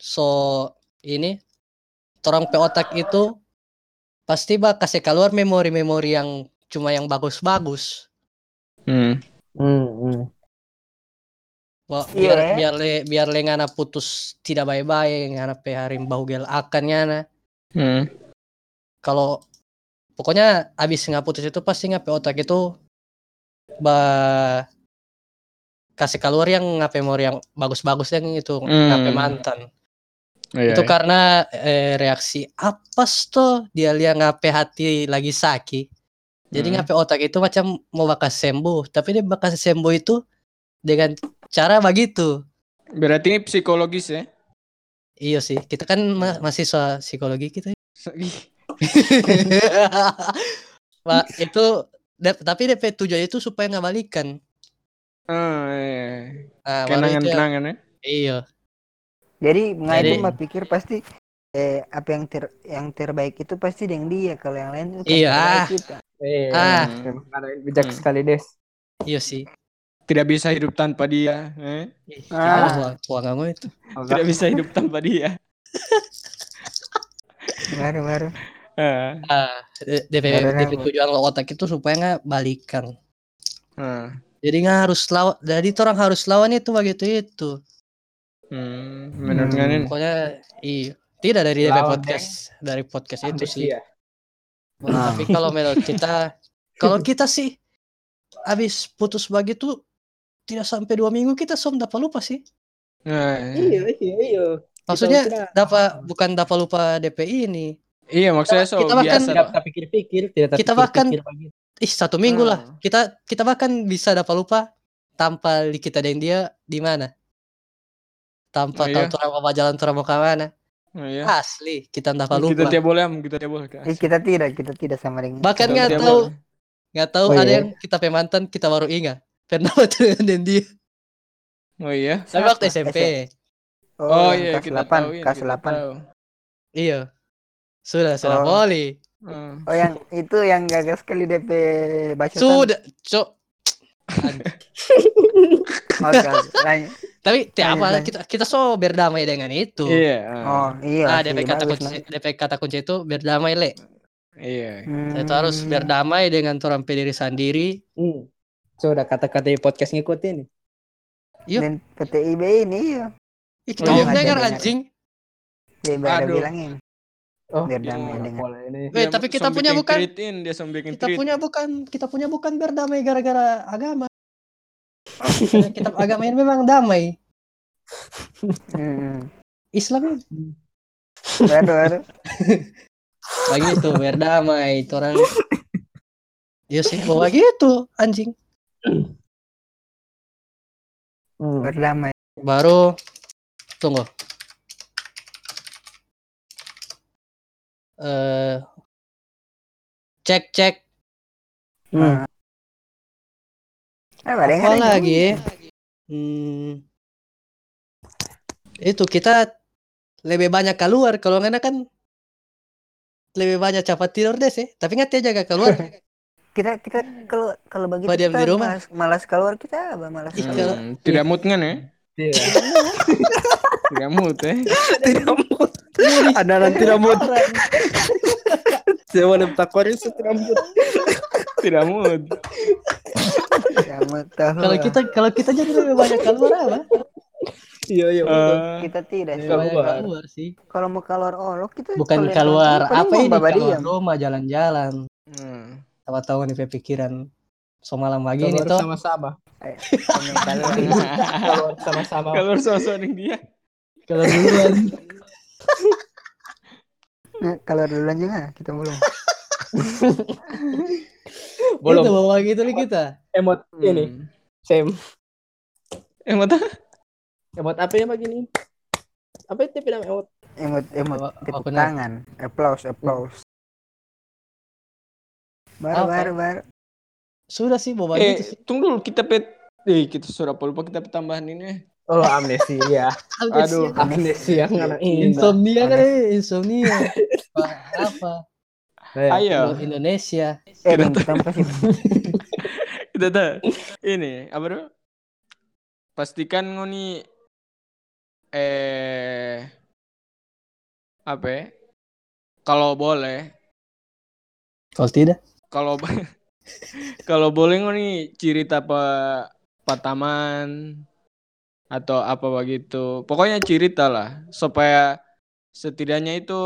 Speaker 5: so ini torang pe otak itu pasti bak kasih keluar memori-memori yang cuma yang bagus-bagus.
Speaker 4: Hmm.
Speaker 3: Hmm, hmm.
Speaker 5: Wah,
Speaker 2: Iya,
Speaker 5: biar
Speaker 2: eh.
Speaker 5: biar le biar le ngana putus tidak baik-baik ngana pe harim bahugel akan ngana.
Speaker 4: Hmm.
Speaker 5: Kalau pokoknya abis nggak putus itu pasti ngape otak itu ba kasih keluar yang ngape memori yang bagus-bagus yang itu ngape
Speaker 4: Hmm.
Speaker 5: mantan.
Speaker 4: Oh, iya,
Speaker 5: itu
Speaker 4: iya.
Speaker 5: karena eh, reaksi apes tuh dia lihat ngape hati lagi sakit jadi
Speaker 4: Hmm.
Speaker 5: ngape otak itu macam mau bakal sembuh tapi dia bakal sembuh itu dengan cara begitu
Speaker 4: Berarti ini psikologis ya?
Speaker 5: iya sih kita kan ma- mahasiswa psikologi kita Wah, itu dap- tapi DP tujuan itu supaya nggak balikan
Speaker 4: Ah, iya.
Speaker 5: nah, baru itu yang-
Speaker 4: Kenangan-kenangan ya?
Speaker 5: iya
Speaker 2: Jadi nggak itu
Speaker 5: Jadi-
Speaker 2: mah pikir pasti eh apa yang ter yang terbaik itu pasti dengan dia kalau yang lain itu kan
Speaker 5: Iya.
Speaker 2: terbaik kita.
Speaker 3: Eh,
Speaker 5: Ah.
Speaker 4: Hmm.
Speaker 3: memang ada yang bijak
Speaker 4: Hmm.
Speaker 3: sekali Des.
Speaker 5: iya sih
Speaker 4: Tidak bisa hidup tanpa dia. eh?
Speaker 5: ah.
Speaker 3: Ah.
Speaker 5: itu
Speaker 4: Tidak bisa hidup tanpa dia.
Speaker 2: Baru baru.
Speaker 4: Ah.
Speaker 5: ah, D- DP,
Speaker 2: Karena-
Speaker 5: DP tujuan lo otak itu supaya nggak balikan
Speaker 4: Ah.
Speaker 5: Jadi nggak harus lawan. Jadi orang harus lawan itu begitu itu.
Speaker 4: Hmm. Menurut
Speaker 2: Hmm.
Speaker 4: Nganen.
Speaker 5: Pokoknya iya. Tidak dari DP
Speaker 3: Lawan,
Speaker 5: podcast dari podcast itu
Speaker 3: Ambisi
Speaker 5: sih.
Speaker 3: ya.
Speaker 2: Ah.
Speaker 5: Tapi kalau menurut kita, kalau kita sih habis putus begitu tidak sampai dua minggu kita som dapat lupa sih.
Speaker 4: Ah, iya.
Speaker 3: Iya, iya, iya.
Speaker 5: Maksudnya
Speaker 3: Kita- kita-
Speaker 5: dapat bukan dapat lupa DP ini.
Speaker 4: Iya maksudnya so
Speaker 5: Kita bahkan-
Speaker 4: biasa.
Speaker 3: tidak tak pikir-pikir, tidak tak
Speaker 5: Kita
Speaker 3: pikir-pikir lagi.
Speaker 5: Ih satu minggu
Speaker 4: Ah.
Speaker 5: lah. Kita kita bahkan bisa dapat lupa tanpa di- kita dan dia di mana. Tanpa
Speaker 4: Oh,
Speaker 5: tahu
Speaker 4: iya.
Speaker 5: orang apa jalan orang mau ke mana.
Speaker 4: Oh, iya.
Speaker 5: Asli kita dapat lupa.
Speaker 4: Kita tiap boleh, kita kan. tiap boleh.
Speaker 2: Eh, kita tidak kita tidak sama dengan.
Speaker 5: Bahkan
Speaker 4: Kita
Speaker 5: nggak
Speaker 4: tiap
Speaker 5: tahu.
Speaker 4: boleh.
Speaker 5: nggak tahu
Speaker 3: Oh,
Speaker 5: ada
Speaker 3: iya.
Speaker 5: yang kita pemantan kita baru ingat pernah waktu dengan dia
Speaker 4: Oh iya.
Speaker 5: tapi
Speaker 2: Siapa?
Speaker 5: waktu SMP
Speaker 4: Oh,
Speaker 2: yang
Speaker 4: iya
Speaker 2: kelas
Speaker 4: kita
Speaker 2: 8,
Speaker 4: tahu. iya,
Speaker 2: kelas
Speaker 4: kita
Speaker 2: 8.
Speaker 4: tahu.
Speaker 5: iya sudah sudah
Speaker 2: Oh.
Speaker 5: boleh
Speaker 4: Ah.
Speaker 2: Oh yang itu yang gagal sekali DP bacotan.
Speaker 5: sudah cok
Speaker 2: Oke, oke. Oh, Lain-
Speaker 5: tapi
Speaker 2: Lanjut,
Speaker 5: tiap apa
Speaker 2: lanjut.
Speaker 5: kita kita so berdamai dengan itu
Speaker 4: Iya. ah.
Speaker 2: Oh iya.
Speaker 5: nah
Speaker 2: sih,
Speaker 5: DP kata
Speaker 2: bagus,
Speaker 5: kunci
Speaker 2: nah.
Speaker 5: DP kata kunci itu berdamai le
Speaker 4: Iya.
Speaker 5: itu harus
Speaker 2: Hmm.
Speaker 5: berdamai dengan orang diri sendiri
Speaker 3: Hmm. Sudah kata-kata di podcast ngikutin.
Speaker 5: Yuk.
Speaker 2: Dan PTIB ini iya.
Speaker 5: Ih,
Speaker 4: Oh,
Speaker 5: kamu
Speaker 4: iya.
Speaker 5: dengar
Speaker 2: Dengar.
Speaker 5: anjing
Speaker 2: Dia baru
Speaker 4: Aduh.
Speaker 2: bilangin.
Speaker 3: Oh,
Speaker 2: berdamai
Speaker 4: iya.
Speaker 2: dengan.
Speaker 3: Pola ini.
Speaker 5: Eh,
Speaker 4: Dia
Speaker 5: tapi kita
Speaker 4: som
Speaker 5: punya
Speaker 4: bikin
Speaker 5: bukan?
Speaker 4: kritin, dia som bikin
Speaker 5: kita
Speaker 4: kritin.
Speaker 5: punya bukan kita punya bukan berdamai gara-gara agama Karena kitab agama ini memang damai
Speaker 2: Hmm.
Speaker 5: Islam
Speaker 2: Baru baru.
Speaker 5: lagi itu berdamai itu orang ya sih bawa gitu anjing
Speaker 3: Hmm.
Speaker 2: Berdamai.
Speaker 5: baru tunggu eh cek cek
Speaker 3: Hmm.
Speaker 2: Ah, baru yang
Speaker 5: apa
Speaker 2: ada.
Speaker 5: lagi hmm. itu kita lebih banyak keluar kalau nggak kan lebih banyak cepat tidur deh sih tapi nggak dia jaga keluar
Speaker 2: Kita kita kalau kalau begitu
Speaker 5: Apa diam
Speaker 2: kita
Speaker 5: di rumah? Iya.
Speaker 2: malas, malas keluar kita apa malas
Speaker 5: Ih,
Speaker 2: keluar.
Speaker 5: kalau-
Speaker 4: Hmm, Tidak mood kan ya?
Speaker 3: Iya.
Speaker 4: Tidak mood ya?
Speaker 3: Tidak mood. Ada yang tidak mood. Saya mau takwarin tidak mood.
Speaker 4: Tidak mood.
Speaker 2: Kamu tahu.
Speaker 5: kalau kita kalau kita jadi lebih banyak keluar apa
Speaker 3: Iya, iya. betul.
Speaker 4: Eh,
Speaker 2: kita tidak sih.
Speaker 5: Lebih banyak
Speaker 3: Keluar.
Speaker 5: keluar sih
Speaker 2: Kalau mau keluar olok kita
Speaker 5: bukan
Speaker 2: yang
Speaker 5: keluar
Speaker 2: paling
Speaker 5: apa
Speaker 2: mau
Speaker 5: ini
Speaker 2: bawa
Speaker 5: keluar
Speaker 2: diam.
Speaker 5: rumah jalan-jalan
Speaker 4: hmm.
Speaker 5: tahu-tahu nih pikiran semalam pagi ini
Speaker 3: Keluar
Speaker 5: toh
Speaker 3: sama-sama.
Speaker 2: Eh, pengen keluar.
Speaker 3: Keluar sama-sama.
Speaker 4: Kalau sosok dengan dia.
Speaker 5: kalau duluan
Speaker 2: Nah, Keluar duluan juga kita belum.
Speaker 5: belum
Speaker 3: Belum.
Speaker 5: itu bawa gitu nih kita
Speaker 3: Emot ini,
Speaker 4: Hmm.
Speaker 3: Sam.
Speaker 4: Eh mata.
Speaker 3: Emot apa ya begini? apa itu bilang emot
Speaker 2: Emot emot
Speaker 5: Wa-
Speaker 2: tepuk
Speaker 5: wakunan.
Speaker 2: tangan. Applause applause. Baru
Speaker 5: Apa?
Speaker 2: baru baru. Eh,
Speaker 5: Sudah sih boba
Speaker 4: Eh,
Speaker 5: gitu sih.
Speaker 4: tunggu dulu kita pet. Eh, kita sudah apa lupa kita tambahan ini. eh.
Speaker 3: oh amnesia
Speaker 4: Aduh.
Speaker 3: amnesia ngarang indah
Speaker 5: Insomnia kan ini insomnia. Apa? apa?
Speaker 3: ya?
Speaker 4: Ayo.
Speaker 5: Lu Indonesia.
Speaker 2: Eh dong kita apa sih?
Speaker 4: Kita dah. Ini apa dulu? Pastikan ngoni eh apa? ya? Kalau boleh,
Speaker 5: Kalau tidak,
Speaker 4: kalau kalau boleh ngoni cerita apa pataman atau apa begitu. Pokoknya cerita lah supaya setidaknya itu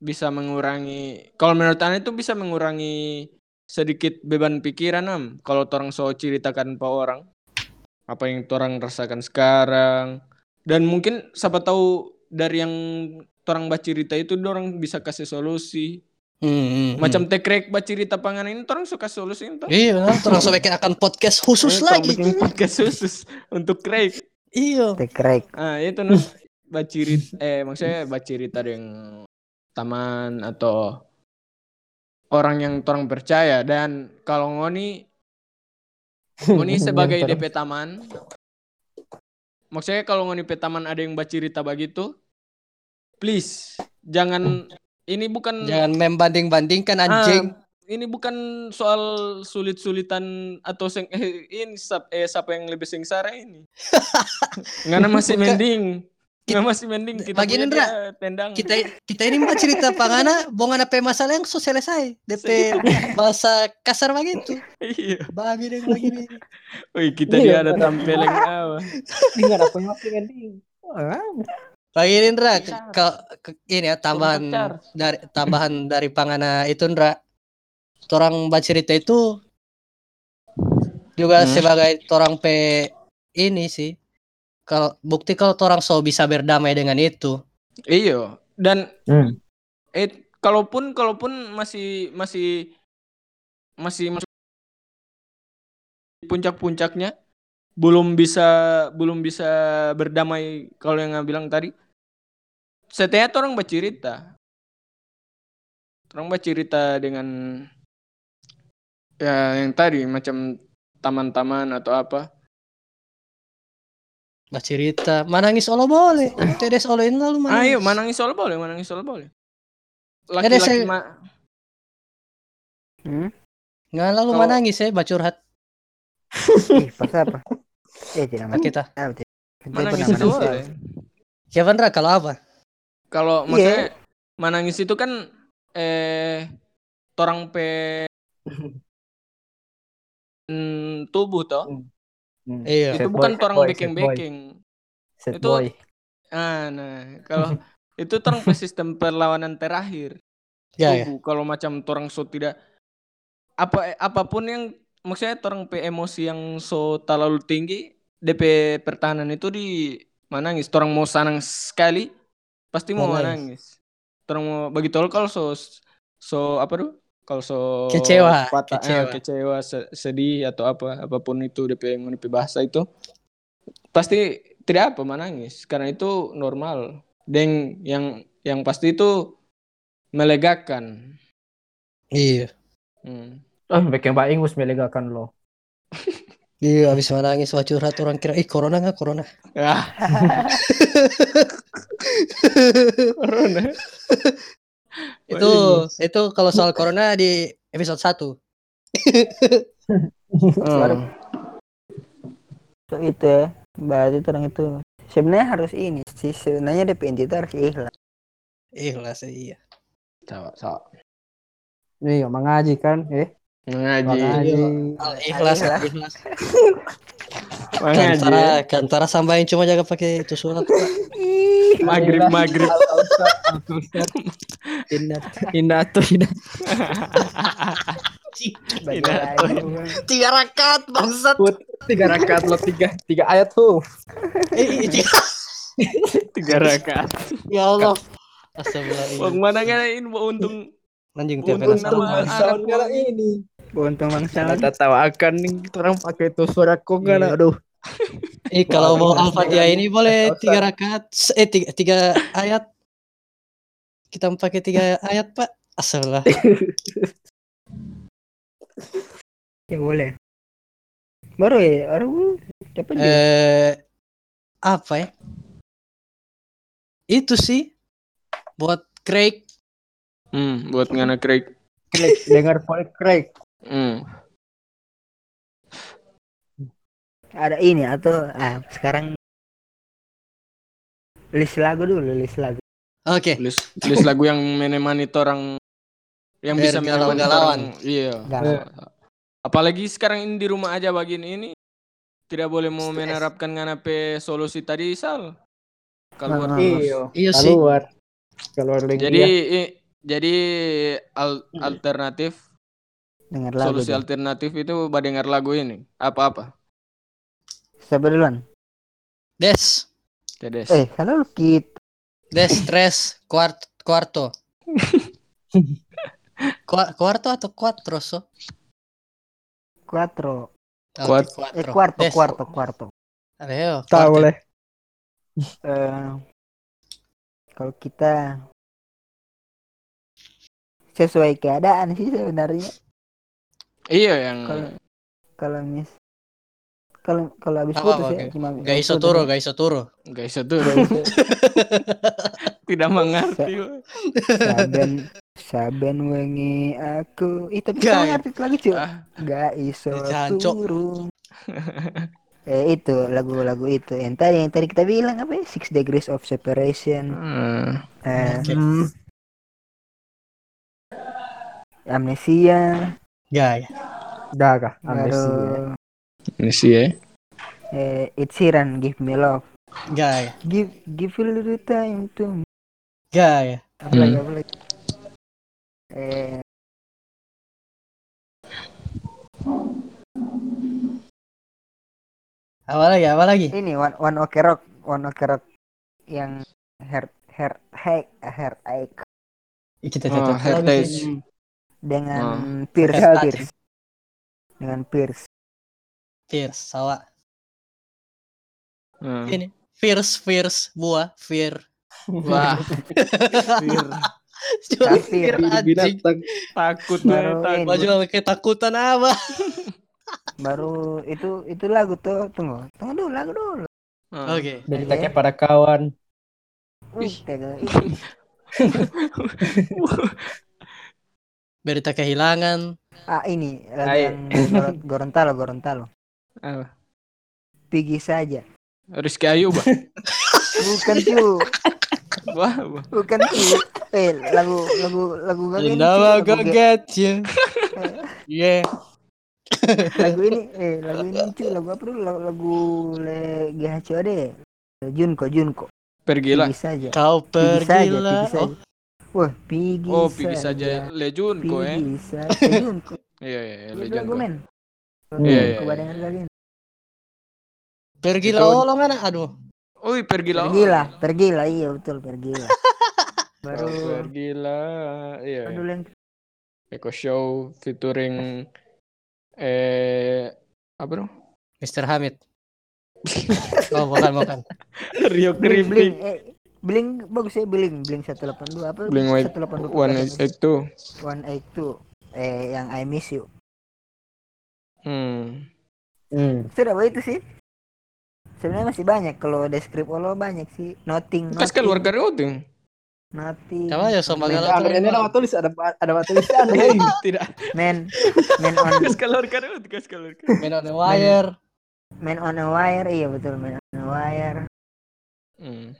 Speaker 4: bisa mengurangi kalau menurut Anda itu bisa mengurangi sedikit beban pikiran am kalau orang so ceritakan ke orang apa yang orang rasakan sekarang dan mungkin siapa tahu dari yang orang baca cerita itu orang bisa kasih solusi
Speaker 5: Hmm, hmm,
Speaker 4: macam tekrek baca cerita pangan ini orang suka solusi
Speaker 5: hmm.
Speaker 4: itu
Speaker 5: Iya, benar. Eh, Terus langsung bikin akan podcast khusus
Speaker 4: Orang
Speaker 5: lagi.
Speaker 4: bikin podcast khusus untuk krek
Speaker 5: Iya.
Speaker 2: Tekrek.
Speaker 4: ah itu nah baca cerita eh maksudnya baca cerita dengan taman atau orang yang orang percaya dan kalau ngoni ngoni sebagai
Speaker 3: Yang
Speaker 4: DP taman maksudnya kalau ngoni DP taman ada yang baca cerita begitu please jangan ini bukan
Speaker 5: Jangan membanding-bandingkan
Speaker 4: Ah,
Speaker 5: anjing.
Speaker 4: ini bukan soal sulit-sulitan atau sing, eh, ini sap- eh, siapa yang lebih sengsara ini. Karena masih
Speaker 5: Bukan.
Speaker 4: mending.
Speaker 5: Kita-
Speaker 4: Karena masih mending kita
Speaker 5: Bagi
Speaker 4: punya
Speaker 5: Indra,
Speaker 4: dia tendang.
Speaker 5: kita kita ini mau cerita pangana bongan apa masalah yang so selesai DP bahasa kasar begitu
Speaker 4: Iya.
Speaker 5: babi deh begini
Speaker 4: Wih,
Speaker 3: Iya,
Speaker 4: kita dia ada
Speaker 3: benar.
Speaker 4: tampilan apa?
Speaker 3: dengar apa yang apa ding Ah,
Speaker 5: bagi Indra ke, ke- ke- ini ya tambahan
Speaker 4: Bentar.
Speaker 5: dari tambahan dari pangana itu Indra orang baca cerita itu juga
Speaker 4: Hmm.
Speaker 5: sebagai orang p ini sih kalau bukti kalau orang so bisa berdamai dengan itu
Speaker 4: Iya. Dan
Speaker 3: Hmm.
Speaker 4: eh kalaupun kalaupun masih masih masih masuk puncak-puncaknya belum bisa belum bisa berdamai kalau yang nggak bilang tadi setia tuh orang bercerita orang bercerita dengan ya yang tadi macam taman-taman atau apa
Speaker 5: baca cerita manangis olo boleh tedes olo ini
Speaker 4: Ah,
Speaker 5: lalu manangis
Speaker 4: ayo manangis soal iya, boleh manangis soal boleh
Speaker 5: Ada
Speaker 4: laki-laki
Speaker 5: saya-
Speaker 4: ma-
Speaker 2: Hmm?
Speaker 5: nggak lalu
Speaker 4: Kalau-
Speaker 5: manangis ya baca curhat
Speaker 2: Ih, pas apa? Eh tidak
Speaker 4: Hmm.
Speaker 2: mati.
Speaker 5: kita
Speaker 2: Ah, tidak. Kita pernah
Speaker 4: manangis itu
Speaker 2: manusia.
Speaker 4: boleh.
Speaker 5: siapa Indra kalau apa
Speaker 4: Kalau
Speaker 2: Iya.
Speaker 4: maksudnya manangis itu kan eh torang pe Hmm, tubuh toh.
Speaker 5: Iya.
Speaker 4: Itu
Speaker 3: Sad
Speaker 4: bukan
Speaker 3: boy, sad
Speaker 4: torang
Speaker 3: boy, sad
Speaker 4: backing-backing.
Speaker 3: Set
Speaker 4: Itu-
Speaker 3: boy.
Speaker 4: Ah, nah, kalau itu torang pe sistem perlawanan terakhir. Iya.
Speaker 5: Ya, ya.
Speaker 4: tubuh. Kalau macam torang so tidak apa eh, apapun yang maksudnya torang pe emosi yang so terlalu tinggi DP pertahanan itu di manangis. Torang mau sanang sekali pasti mau
Speaker 5: Manangis.
Speaker 4: manangis. Torang mau bagi tol kalau so so apa tuh? Kalau so
Speaker 5: Kecewa,
Speaker 4: patah, eh,
Speaker 5: kecewa.
Speaker 4: kecewa, se- sedih atau apa apapun itu DP yang DP bahasa itu pasti tidak apa menangis karena itu normal. Dan yang yang pasti itu melegakan.
Speaker 5: Iya.
Speaker 4: Hmm.
Speaker 3: Oh, bikin baik mus melegakan lo.
Speaker 5: Iya, habis nangis wah curhat orang kira ih corona nggak corona.
Speaker 4: Ah, corona.
Speaker 5: itu itu kalau soal corona di episode 1.
Speaker 4: Hmm.
Speaker 2: So, itu ya. Berarti orang itu sebenarnya harus ini sih sebenarnya DP itu harus ikhlas.
Speaker 5: Ikhlas iya.
Speaker 4: Sawa, sawa.
Speaker 3: Iya, mengaji kan, eh.
Speaker 4: Mengaji,
Speaker 3: Mengaji.
Speaker 5: Al ikhlas, ya. Kan al ikhlas.
Speaker 4: mengaji.
Speaker 5: Kantara, kantara sambahin cuma jaga pakai itu surat.
Speaker 4: Maghrib, maghrib.
Speaker 5: Indah.
Speaker 3: Indah tuh, indah.
Speaker 2: Bagi
Speaker 4: Tidak.
Speaker 2: orang.
Speaker 5: Tiga rakaat bangsat.
Speaker 3: Tiga rakaat lo tiga, tiga ayat tuh.
Speaker 5: Eh, eh, tiga.
Speaker 4: Tiga rakaat.
Speaker 5: ya Allah.
Speaker 4: Wong
Speaker 5: Astagfirullah.
Speaker 4: mana ngarain mau untung
Speaker 5: Anjing tiap
Speaker 4: untung
Speaker 5: beres tuh.
Speaker 4: nama Arab
Speaker 3: Soalnya ini.
Speaker 2: Untung bangsa.
Speaker 3: Iya. Ada tawa akan nih, orang pakai itu suara kok nggak, kan, aduh.
Speaker 5: Ih, kalau mau Al-Fatihah ini boleh tiga rakaat, eh tiga, tiga ayat. Kita pakai tiga ayat, Pak. Asalah.
Speaker 2: Ya boleh. Baru ya, baru dapat juga.
Speaker 5: Eh, apa ya? Itu sih buat Craig.
Speaker 4: Hmm, buat ngana Craig.
Speaker 2: Klik, dengar Paul Craig.
Speaker 4: Hmm.
Speaker 2: Ada ini atau ah, sekarang list lagu dulu, list lagu.
Speaker 5: Oke.
Speaker 4: Tulis tulis lagu yang menemani orang yang
Speaker 5: Biar
Speaker 4: bisa menemani
Speaker 5: galau-galauan.
Speaker 4: orang. Iya.
Speaker 2: Galau.
Speaker 4: Apalagi sekarang ini di rumah aja bagian ini tidak boleh mau
Speaker 5: Stres.
Speaker 4: menerapkan nganape solusi tadi sal.
Speaker 2: Ah.
Speaker 4: Kalau buat-
Speaker 3: Iya.
Speaker 5: Iya sih.
Speaker 3: Keluar. Keluar lagi.
Speaker 4: jadi
Speaker 3: ya.
Speaker 4: i- jadi al- alternatif
Speaker 2: Dengar lagu.
Speaker 4: solusi
Speaker 2: dulu.
Speaker 4: alternatif itu badengar lagu ini apa-apa.
Speaker 2: Siapa duluan?
Speaker 5: Des,
Speaker 4: Cedes.
Speaker 2: Eh, kalau lu kit
Speaker 5: des, tres, kuart, kuarto. Kua- Kuarto atau quattro so?
Speaker 2: quattro.
Speaker 5: Oh,
Speaker 4: Kuat-
Speaker 2: Eh, quarto,
Speaker 5: Des.
Speaker 2: quarto, quarto.
Speaker 5: Ayo,
Speaker 3: Tahu
Speaker 5: quartet.
Speaker 3: boleh.
Speaker 2: Eh, kalau kita sesuai keadaan sih sebenarnya.
Speaker 4: Iya yang
Speaker 2: Kalau kalau mis kalau kalau habis
Speaker 5: Apa,
Speaker 2: putus
Speaker 5: apa,
Speaker 2: ya cuma habis
Speaker 5: Gak iso
Speaker 2: putus
Speaker 5: turu,
Speaker 2: ya.
Speaker 5: gak iso turu.
Speaker 4: guys itu
Speaker 3: Iya.
Speaker 4: tidak mengerti.
Speaker 2: Saben saben wengi aku itu
Speaker 5: Gak,
Speaker 2: bisa ngerti lagi cuy.
Speaker 4: Ah.
Speaker 2: Gak iso
Speaker 5: Jancok.
Speaker 2: turu. eh itu lagu-lagu itu yang tadi yang tadi kita bilang apa ya? Six Degrees of Separation.
Speaker 4: Hmm.
Speaker 2: Eh,
Speaker 5: Oke.
Speaker 2: amnesia,
Speaker 5: Ya, ya.
Speaker 3: Udah kah? Amnesia.
Speaker 2: baru
Speaker 4: Ini sih ya.
Speaker 2: eh, Ed Sheeran, Give Me Love,
Speaker 5: Gak, ya.
Speaker 2: Give Give a Little Time to Me.
Speaker 5: Gak, ya.
Speaker 2: Apa lagi, apa lagi? Eh,
Speaker 5: Apa lagi, apa lagi?
Speaker 2: ini One One Ok Rock, One Ok Rock yang Heart Heart Hack Heart Ache
Speaker 5: Ih, Kita
Speaker 2: Ah,
Speaker 4: Oh,
Speaker 5: catat lagi
Speaker 4: heritage.
Speaker 5: sih. Hmm.
Speaker 2: dengan Pierce
Speaker 5: Heart Ache.
Speaker 2: Pierce dengan Pierce
Speaker 5: Fierce, sawa.
Speaker 4: Hmm.
Speaker 5: Ini. Fierce, fierce, buah, fear.
Speaker 4: Wah,
Speaker 5: Cuma
Speaker 2: Kafir.
Speaker 5: fear anjing.
Speaker 4: Nah, takut
Speaker 2: Baru
Speaker 4: banget.
Speaker 2: ini.
Speaker 5: Baju lama ketakutan apa?
Speaker 2: baru itu itu lagu tuh tunggu tunggu dulu lagu dulu
Speaker 4: Ah.
Speaker 5: Oke.
Speaker 3: Beritanya para kawan.
Speaker 2: Wih, tega.
Speaker 5: Berita kehilangan.
Speaker 2: ah ini lagu
Speaker 3: Ayo.
Speaker 2: yang Gor- Gorontalo Gorontalo
Speaker 4: Apa?
Speaker 2: Pigi saja
Speaker 4: Rizky Ayu, bah.
Speaker 2: bukan tuh
Speaker 4: Wah, bah.
Speaker 2: bukan tuh eh lagu lagu lagu gak ini,
Speaker 5: And
Speaker 2: cuy,
Speaker 5: now I
Speaker 2: lagu,
Speaker 5: go
Speaker 2: ge-
Speaker 5: get you. Yeah.
Speaker 2: lagu ini eh lagu ini cuy lagu apa dulu lagu, lagu le GHCOD Junko Junko
Speaker 4: Pergilah.
Speaker 2: Pigi saja
Speaker 5: Kau
Speaker 2: Pigi saja Pigi
Speaker 5: pergilah.
Speaker 2: saja
Speaker 5: Oh,
Speaker 2: wah Pigi
Speaker 4: Oh, pergi saja Lejun kok ya.
Speaker 2: Pigi saja Eh, Junko
Speaker 4: Iya, iya, iya,
Speaker 2: Itu
Speaker 4: Lejun
Speaker 2: lagu
Speaker 4: kok.
Speaker 2: men
Speaker 3: Hmm.
Speaker 4: Iya, iya, iya.
Speaker 2: kebadangan lagi
Speaker 5: pergilah
Speaker 4: Itu-
Speaker 5: oh, lo mana? Aduh.
Speaker 4: Oi, pergilah.
Speaker 2: pergilah pergilah iya betul pergilah baru
Speaker 4: Kau pergilah. Iya.
Speaker 2: baru
Speaker 4: iya.
Speaker 2: dulu yang
Speaker 4: Eko Show featuring eh apa dong?
Speaker 5: Mr. Hamid. oh, bukan, bukan.
Speaker 4: Rio
Speaker 2: bling bling
Speaker 4: Kribling.
Speaker 2: eh bling bagus ya bling bling 182 apa
Speaker 4: Blink White-
Speaker 2: 182
Speaker 4: One itu.
Speaker 2: one eight two eh yang I miss you
Speaker 4: Hmm.
Speaker 3: Hmm.
Speaker 2: sudah apa itu sih sebenarnya masih banyak kalau deskrip lo banyak sih nothing
Speaker 4: Kas keluar
Speaker 2: nothing
Speaker 4: dari outing.
Speaker 2: nothing
Speaker 5: Sama aja sama
Speaker 2: Nothing.
Speaker 5: kalau Iya.
Speaker 3: Ini Iya, nama tulis ada ada tulisan.
Speaker 4: Tidak.
Speaker 2: man man on
Speaker 4: Kas keluar dari outing, kas keluar. dari outing.
Speaker 5: Man on the wire.
Speaker 2: man on a wire iya betul man on a wire
Speaker 4: Hmm.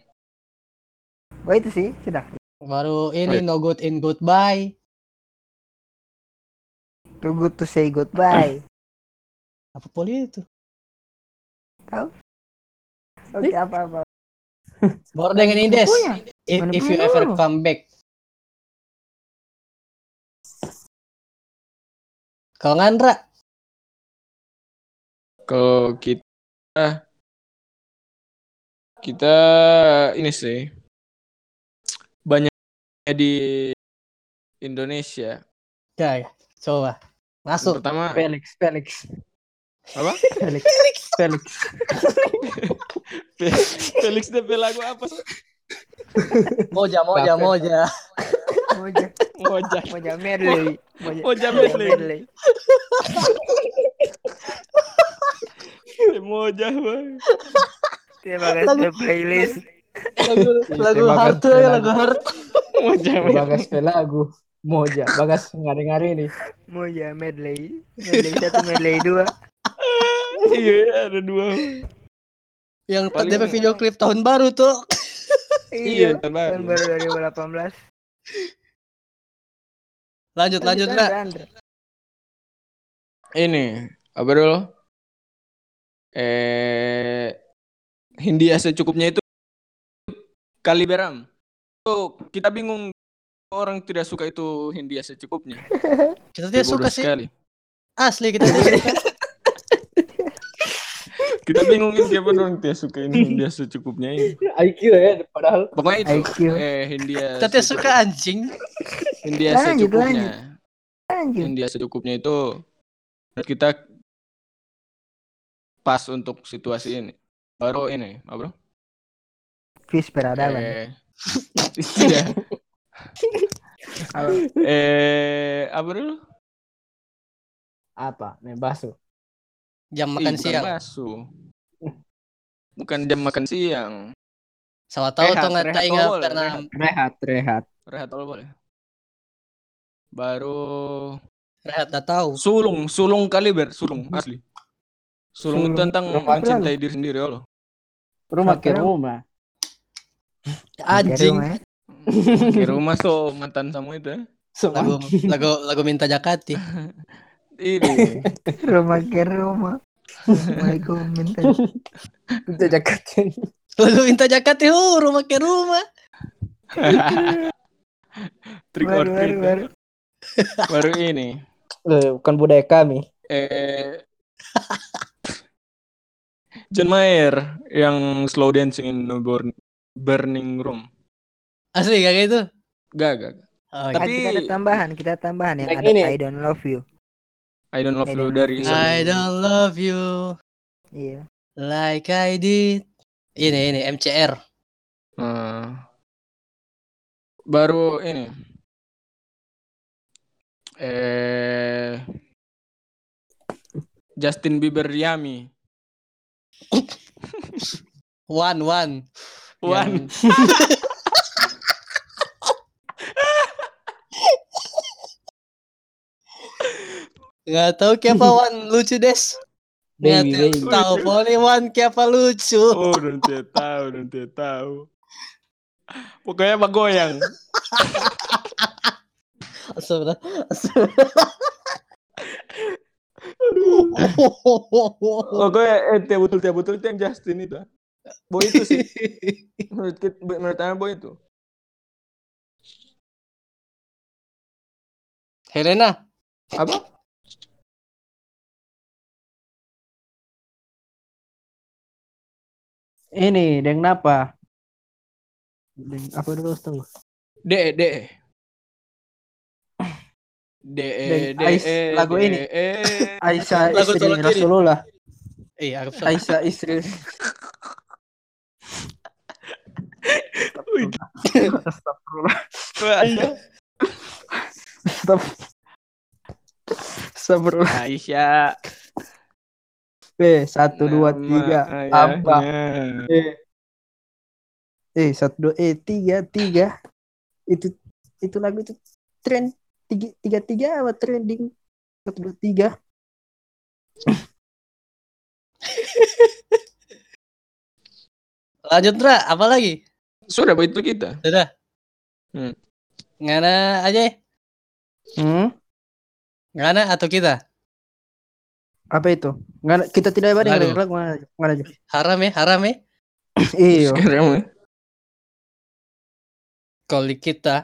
Speaker 2: wah itu sih sudah
Speaker 5: Baru ini
Speaker 4: Wait.
Speaker 5: no good in goodbye.
Speaker 2: too good to say goodbye
Speaker 5: Apa poli itu?
Speaker 4: Eh?
Speaker 2: oke apa apa
Speaker 5: Baru dengan Indes.
Speaker 2: Bukunya.
Speaker 5: If,
Speaker 2: Mana
Speaker 5: if you
Speaker 2: punya
Speaker 5: ever
Speaker 2: lu?
Speaker 5: come back. Kau ngandra.
Speaker 4: Kalau kita kita ini sih banyak di Indonesia.
Speaker 5: Ya, ya. Coba. Masuk.
Speaker 4: Pertama
Speaker 3: Felix, Felix.
Speaker 4: Apa?
Speaker 3: Felix. Felix.
Speaker 4: Fe- Felix de Pelago apa sih?
Speaker 5: Moja, moja,
Speaker 3: Bape.
Speaker 5: moja.
Speaker 2: Moja,
Speaker 4: Moja.
Speaker 2: Moja Merley. Moja,
Speaker 4: Moja Merley. Moja, Bang.
Speaker 2: Terima kasih playlist.
Speaker 5: Lagu, lagu
Speaker 3: Terima
Speaker 5: hard
Speaker 3: kasih,
Speaker 5: ya,
Speaker 3: Lan.
Speaker 5: lagu hard.
Speaker 4: Moja, Bang.
Speaker 3: Bagas Pelagu. Moja. Bagas ngari-ngari nih.
Speaker 2: Moja Medley. Medley satu, Medley dua.
Speaker 4: Iya, ada dua. Bang.
Speaker 5: Yang
Speaker 4: Paling-
Speaker 5: DP video klip tahun baru tuh.
Speaker 4: Iya,
Speaker 2: Iya. Tahun
Speaker 4: tahun baru.
Speaker 2: baru 2018.
Speaker 5: Lanjut, lanjut, Ra.
Speaker 4: Ini apa dulu? Eh, Hindia secukupnya itu Kaliberam. Tuh, kita bingung orang tidak suka itu Hindia secukupnya.
Speaker 5: Kita tidak
Speaker 4: Bodoh
Speaker 5: suka sih.
Speaker 4: sekali.
Speaker 5: Asli kita tidak suka.
Speaker 4: Kita bingungin siapa orang tidak suka ini Hindia secukupnya ini.
Speaker 3: IQ ya padahal.
Speaker 4: Pokoknya itu
Speaker 2: IQ.
Speaker 4: eh Hindia.
Speaker 5: Kita tidak suka
Speaker 4: secukupnya.
Speaker 5: anjing.
Speaker 4: Hindia
Speaker 2: Lanjut,
Speaker 4: secukupnya.
Speaker 2: Anjir.
Speaker 4: Hindia secukupnya itu menurut kita pas untuk situasi ini. Baru ini, apa bro?
Speaker 2: Fis peradaban.
Speaker 4: Eh, iya.
Speaker 2: Apa?
Speaker 4: Eh, apa dulu?
Speaker 3: Apa? Nih basu.
Speaker 5: Jam
Speaker 4: Ih,
Speaker 5: makan
Speaker 4: bukan
Speaker 5: siang.
Speaker 4: basu. Bukan jam makan siang.
Speaker 5: Sama tahu
Speaker 4: Rehat,
Speaker 5: tuh nggak
Speaker 4: rehat
Speaker 5: tak ingat
Speaker 4: awal,
Speaker 5: karena
Speaker 4: rehat.
Speaker 3: Rehat, rehat.
Speaker 4: Rehat all boleh. Baru
Speaker 5: rehat tak tahu.
Speaker 4: sulung, sulung kali ber, sulung asli. Sulung,
Speaker 3: Sulung.
Speaker 4: itu tentang
Speaker 3: Sulung apa
Speaker 4: mencintai diri sendiri ya Allah.
Speaker 3: Rumah ke
Speaker 2: Sampai-
Speaker 3: rumah.
Speaker 5: Anjing.
Speaker 4: eh.
Speaker 2: Dari rumah ya.
Speaker 4: Di rumah so mantan sama itu. ya.
Speaker 5: Lagu
Speaker 3: Semua.
Speaker 5: lagu lagu minta Jakarta.
Speaker 4: Ini
Speaker 2: Rumah ke rumah. Assalamualaikum minta.
Speaker 3: Itu Jakarta.
Speaker 5: Lagu minta Jakarta, hu, rumah ke rumah.
Speaker 4: trick or
Speaker 2: Baru,
Speaker 4: treat.
Speaker 2: baru,
Speaker 4: ya.
Speaker 2: baru.
Speaker 4: Baru ini.
Speaker 3: Loh, Bukan budaya kami.
Speaker 4: Eh, John Mayer yang slow dancing in the burn- burning room.
Speaker 5: Asli kayak gitu.
Speaker 4: Gak, gak. gak.
Speaker 2: Ah,
Speaker 5: Oh,
Speaker 4: Tapi-
Speaker 2: kita ada tambahan, kita ada tambahan yang
Speaker 3: Yang
Speaker 2: ada
Speaker 3: ini.
Speaker 2: I don't love you.
Speaker 4: I don't love
Speaker 2: I
Speaker 4: you
Speaker 2: don't
Speaker 4: dari
Speaker 2: love you.
Speaker 5: I don't love you
Speaker 2: Iya.
Speaker 5: like I did. Ini ini MCR.
Speaker 4: Eh, baru ini. Eh, Justin Bieber Yami.
Speaker 5: One one.
Speaker 4: One.
Speaker 5: Yang- Nggak tahu kenapa one lucu des.
Speaker 3: Baby,
Speaker 5: Nggak
Speaker 3: baby.
Speaker 5: tahu boleh one kenapa lucu.
Speaker 4: Oh, dan dia tahu, dan dia tahu. Pokoknya goyang.
Speaker 5: Astagfirullah. Astagfirullah.
Speaker 4: Pokoknya eh, tiap betul tiap betul itu yang Justin itu. ah. Boy itu sih. menurut kit- menurut Ana boy itu.
Speaker 5: Helena,
Speaker 4: Apa?
Speaker 3: Ini, deng napa? Deng apa dulu tunggu.
Speaker 4: De de. De
Speaker 3: Dan Ais, lagu ini. Aisyah
Speaker 5: Lagu
Speaker 3: istri
Speaker 5: tolak kiri.
Speaker 3: Rasulullah.
Speaker 5: eh aku salah.
Speaker 3: Aisyah istri. Astagfirullah.
Speaker 4: iya.
Speaker 3: Astagfirullah. Astagfirullah.
Speaker 4: Aisyah.
Speaker 3: B Eh, satu dua tiga.
Speaker 4: ya,
Speaker 3: Apa? Eh. Eh satu dua eh tiga tiga. Itu itu lagu itu tren tiga tiga tiga apa trending satu dua tiga.
Speaker 5: Lanjut Ra, apa lagi?
Speaker 4: Sudah begitu kita.
Speaker 5: Sudah.
Speaker 4: Hmm.
Speaker 5: Ngana aja, ya.
Speaker 3: Hmm?
Speaker 5: Ngana atau kita?
Speaker 3: Apa itu? Nggak, ada- kita tidak ada
Speaker 5: Lagu.
Speaker 3: yang lagu nggak ada- nggak ada.
Speaker 5: Haram ya, haram ya.
Speaker 3: Iya.
Speaker 4: Sekarang ya.
Speaker 5: Kalau kita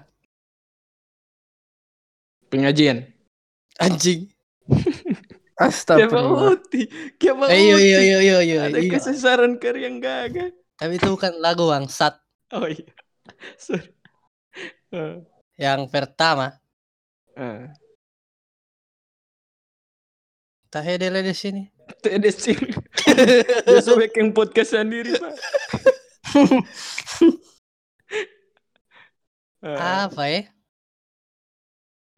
Speaker 4: pengajian.
Speaker 5: anjing.
Speaker 3: Astagfirullah.
Speaker 4: Uti. Kiamat
Speaker 5: Eh, Iya iya iya iya iya.
Speaker 4: Ada
Speaker 5: iya.
Speaker 4: kesesaran karya yang gagal.
Speaker 5: Tapi itu bukan lagu bangsat.
Speaker 4: Oh iya. Sorry. Eh,
Speaker 5: Yang pertama,
Speaker 4: eh.
Speaker 5: tahedele di sini.
Speaker 4: TDC. Besok bikin podcast sendiri, Pak. Eh,
Speaker 5: apa ya?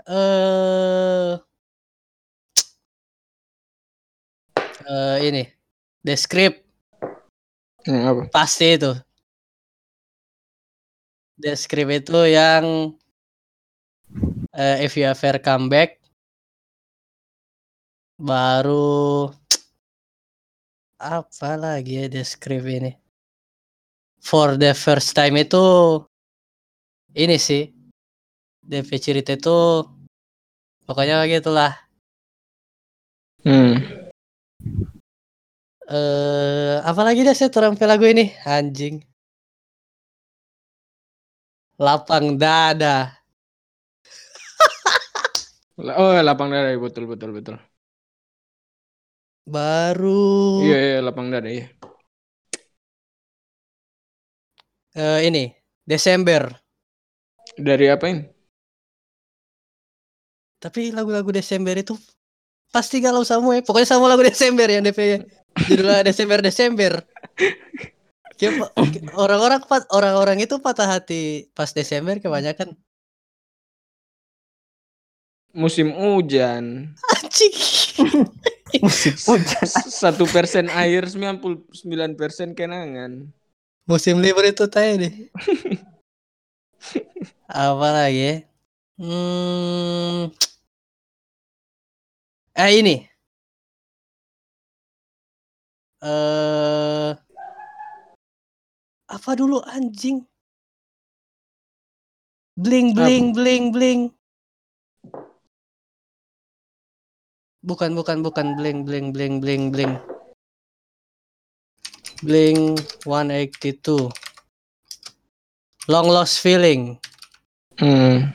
Speaker 5: Eh eh, ini deskrip
Speaker 4: Hmm, apa?
Speaker 5: pasti itu. Deskrip itu yang eh, if you have fair comeback baru apa lagi ya deskrip ini for the first time itu ini sih DP cerita itu pokoknya gitulah
Speaker 4: Hmm.
Speaker 5: eh apalagi dah saya turang lagu ini anjing lapang dada
Speaker 4: La- Oh, lapang dada ya, betul betul betul.
Speaker 5: baru
Speaker 4: Iya, iya, lapang dada iya.
Speaker 5: eh, ini Desember
Speaker 4: Dari apain?
Speaker 5: tapi lagu-lagu Desember itu pasti galau semua ya. pokoknya sama lagu Desember yang DP judulnya Desember Desember Kayak pa- orang-orang pat- orang-orang itu patah hati pas Desember kebanyakan
Speaker 4: Musim hujan.
Speaker 5: anjing
Speaker 2: Hujan.
Speaker 4: Satu persen air, 99 persen kenangan.
Speaker 5: musim libur itu tadi deh apa lagi ya? hmm. eh ini eh apa dulu anjing
Speaker 4: Apa?
Speaker 5: bling bling bling bling bukan bukan bukan bling bling bling bling bling Blink 182 Long Lost Feeling
Speaker 4: Hmm.